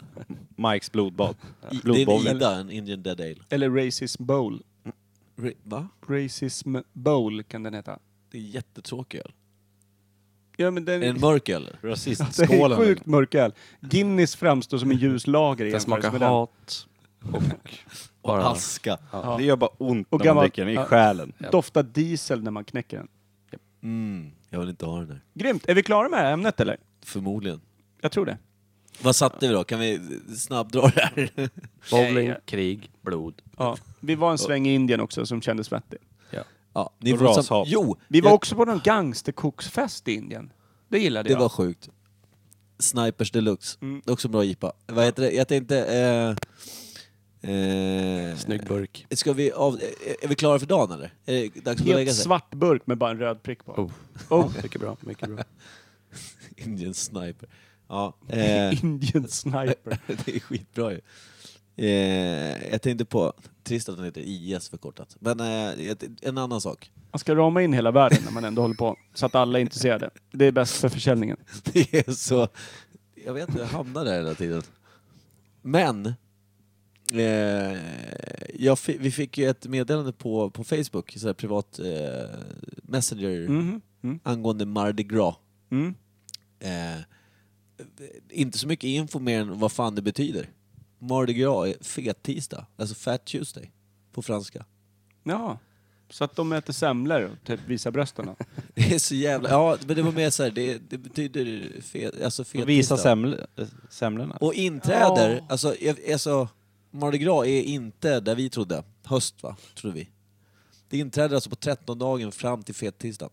Mikes blodbad.
I- Det är en
Blodbowling.
Ida, en Indian Dead Ale.
Eller Racism Bowl.
Re- Va?
Racism Bowl kan den heta.
Det är jättetråkig öl.
Ja, men den,
Är det en mörk öl? eller?
<laughs> det är
Rasistskålen.
sjukt mörk öl. Guinness framstår som en ljus lager i
Den
jämförelse
smakar
med den.
hat och bara...
Aska.
Ja. Det gör bara ont
Och
när
gammal-
man dricker den i
ja.
själen.
Doftar diesel när man knäcker den.
Mm. Jag vill inte ha den där.
Grymt! Är vi klara med det här ämnet eller?
Förmodligen.
Jag tror det.
Vad satte vi då? Kan vi snabbdra det här?
Bowling, krig, blod.
Ja. Vi var en sväng i Indien också som kändes vettig.
Ja, <laughs> ni
Och
får sam-
rashat.
Jo!
Vi var
jag-
också på någon gangsterkoksfest i Indien. Det gillade
Det
jag.
var sjukt. Snipers Deluxe.
Mm.
Det är också en bra IPA. Vad heter det? Jag tänkte... Eh, eh,
Snygg burk.
Ska vi av, eh, är vi klara för dagen eller? Är det dags att gå och lägga
Helt
sig?
svart burk med bara en röd prick på.
Oh.
Oh.
Mycket bra, mycket bra.
<laughs> Indian Sniper. Ja, eh, <laughs>
<laughs> Indian sniper.
det är skitbra ju. Eh, jag tänkte på, trist att den heter IS förkortat, men eh, ett- en annan sak.
Man ska rama in hela världen när man ändå håller på. Så att alla är intresserade. Det är bäst för försäljningen.
Det är så... Jag vet inte, jag hamnar där hela tiden. Men... Eh, jag fi, vi fick ju ett meddelande på, på Facebook, så här privat eh, messenger,
Mhm. Mm.
angående Mardi Gras.
Mm.
Eh, inte så mycket info mer än vad fan det betyder. Mardi Gras är fettisdag, alltså Fat Tuesday på franska.
Ja. Så att de äter semlor och typ visar brösten.
Det är så jävla... Ja, men det var mer så här, det, det betyder fet, alltså fettisdag.
Visa seml- eh, semlorna.
Och inträder,
Ja.
alltså, jag- alltså Mardi Gras är inte där vi trodde, höst va, trodde vi. Det inträder alltså på 13-dagen fram till fettisdagen.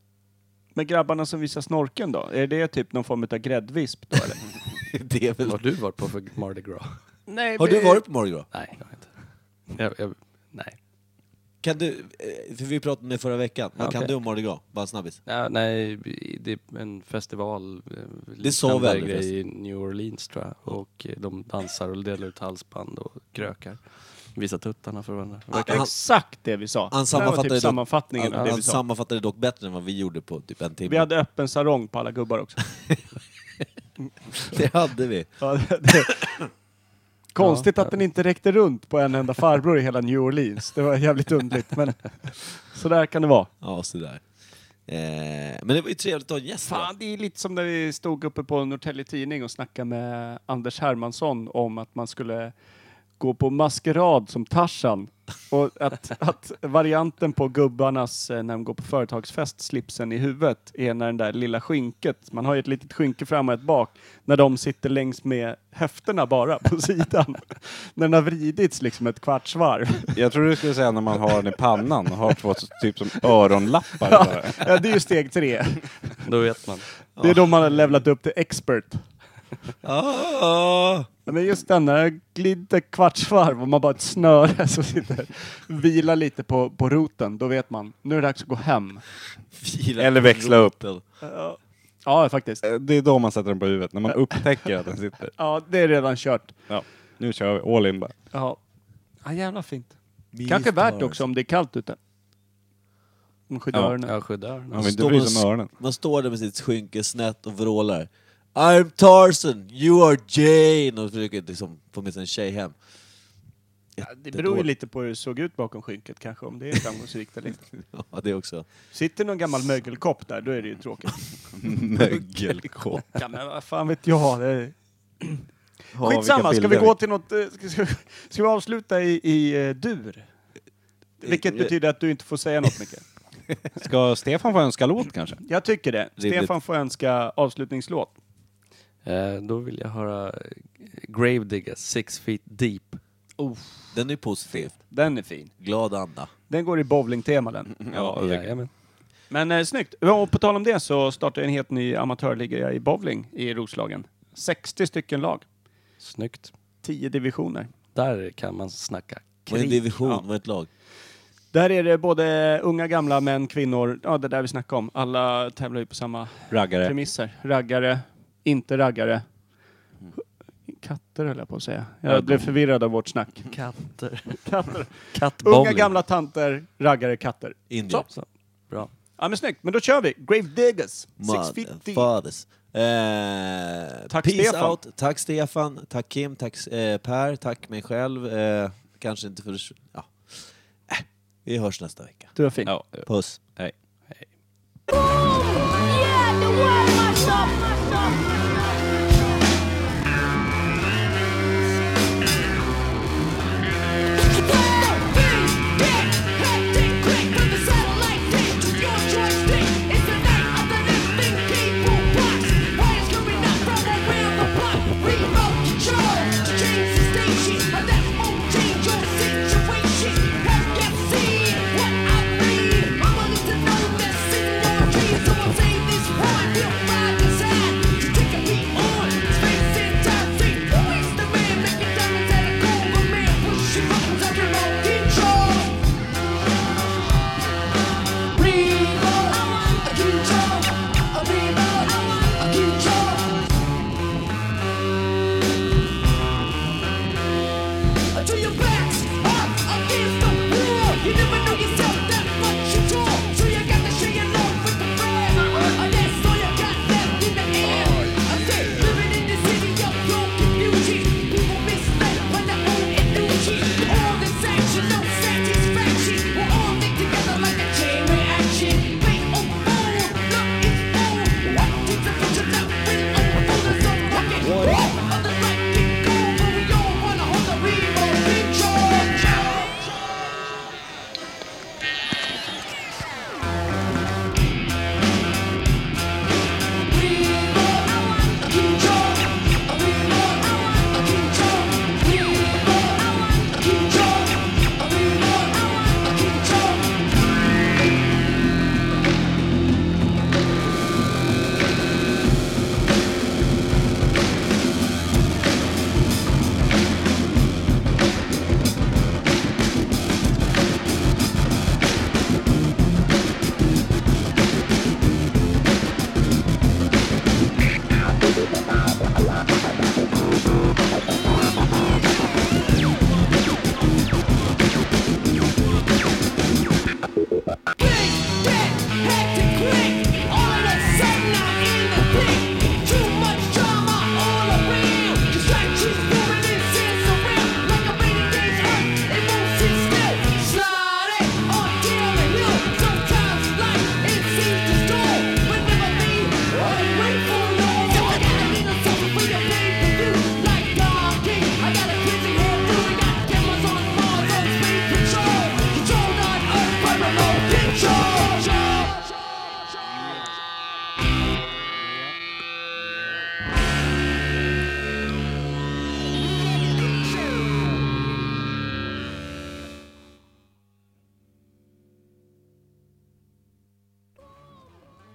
Men grabbarna som visar snorken då? Är det typ någon form av gräddvisp då
<laughs>
eller?
Det är väl...
Vad har du varit på för Mardi Gras?
Nej,
Har du varit på Mardi Gras?
Nej, jag har inte. Jag, jag, nej.
Kan du, eh, för vi pratade om det förra veckan, vad
Ja,
kan
okej.
du om Mardi Gras? Bara snabbis.
Ja, nej, det är en festival. eh,
Det sa
liknande
väl
grej i
förresten.
New Orleans tror jag. Och eh, de dansar och delar ut halsband och krökar. Visar tuttarna för varandra.
Ah,
Det är
han-
Exakt det vi sa.
Han
det här var
sammanfattade
typ
det-
sammanfattningen
Han,
av det
han
vi sa.
sammanfattade dock bättre än vad vi gjorde på typ en timme.
Vi hade öppen sarong på alla gubbar också.
<laughs> Det hade vi.
Ja, det, det. Konstigt att den inte räckte runt på en enda farbror i hela New Orleans. Det var jävligt
<laughs>
underligt, men så där kan det vara.
Ja, sådär. Eh, men det var ju trevligt att ha en gäst då.
Fan, det är lite som när vi stod uppe på Norrtälje Tidning och snackade med Anders Hermansson om att man skulle gå på maskerad som Tarzan Och <laughs> att, att varianten på gubbarnas, eh, när de går på företagsfest, slipsen i huvudet är när den där lilla skynket, man har ju ett litet skynke fram och ett bak, när de sitter längs med höfterna bara på <laughs> sidan. när den har vridits liksom ett kvarts varv.
Jag tror du skulle säga när man har den i pannan och har två typ som öronlappar. bara.
<laughs> Ja, det är ju steg tre.
Då vet man.
Det är då man har levlat upp till expert.
Ah,
Ja, Men just den, när den glider kvartsvarv och man bara har ett <laughs> snöre som sitter vilar lite på, på roten, då vet man, nu är det dags att gå hem.
fila
Eller
på
växla upp.
roten.
Ja, faktiskt.
Eh, Det är då man sätter den på huvudet, när man upptäcker att den sitter.
Ja, det är redan kört.
Ja, nu kör vi all in bara.
Ja, ja jävla fint.
Min
Kanske värt
stars.
också om det är kallt ute. Om skyddar
Ja.
öronen.
Jag skyddar öronen.
Man vill inte
Står
bry
man
sig om öronen.
Man står där med sitt skynke snett och vrålar. I'm Tarzan, you are Jane! Och försöker liksom få med sig en tjej hem.
Ja, det beror ju lite på hur det såg ut bakom skynket kanske, om det är framgångsrikt eller inte.
Ja, det
<laughs>
också.
Sitter någon gammal mögelkopp där, då är det ju tråkigt.
Mögelkopp.
Ja, men vad fan vet jag. Det <clears throat> är...
Ja,
Skitsamma,
vilka
ska vi
bilder.
gå till något... eh, Ska, ska, ska vi avsluta i, i eh, dur? Vilket betyder att du inte får säga något mycket.
Ska Stefan få önska låt kanske?
Jag tycker det.
Rimligt.
Stefan får önska avslutningslåt.
Eh, då vill jag höra eh, Gravedigger, Six Feet Deep.
Den är positiv.
Den är fin.
Glad anda.
Den går i bowlingtema <laughs> den.
Ja,
Jajamän.
Men eh, snyggt. Ja, Och på tal om det så startar jag en helt ny amatörliga i bowling i Roslagen. 60 stycken lag,
Snyggt.
10 divisioner.
Där kan man snacka
Vad är en
krig.
division?
ja.
Vad är ett lag?
Där är det både unga, gamla, män, kvinnor. Ja, det där vi snackade om. Alla tävlar ju på samma
Raggare.
premisser. Raggare, inte raggare. Katter höll jag på att säga. Jag
Ja,
blev
de-
förvirrad av vårt snack.
Katter.
<laughs> Katter.
Kattbowling.
Unga gamla tanter, raggare, katter.
Indier.
Så. Bra.
Ja men snyggt, men då kör vi! Grave Diggers, Six feet deep.
Motherfathers. Eh,
Tack,
peace
Stefan.
out. Tack Stefan, tack Kim, tack eh, Per, tack mig själv. Eh, kanske inte för... Ja. Eh, vi hörs nästa vecka.
Du var fin.
Ja,
Puss.
hej.
Control. To your backs up against the wall, you never Uh-huh.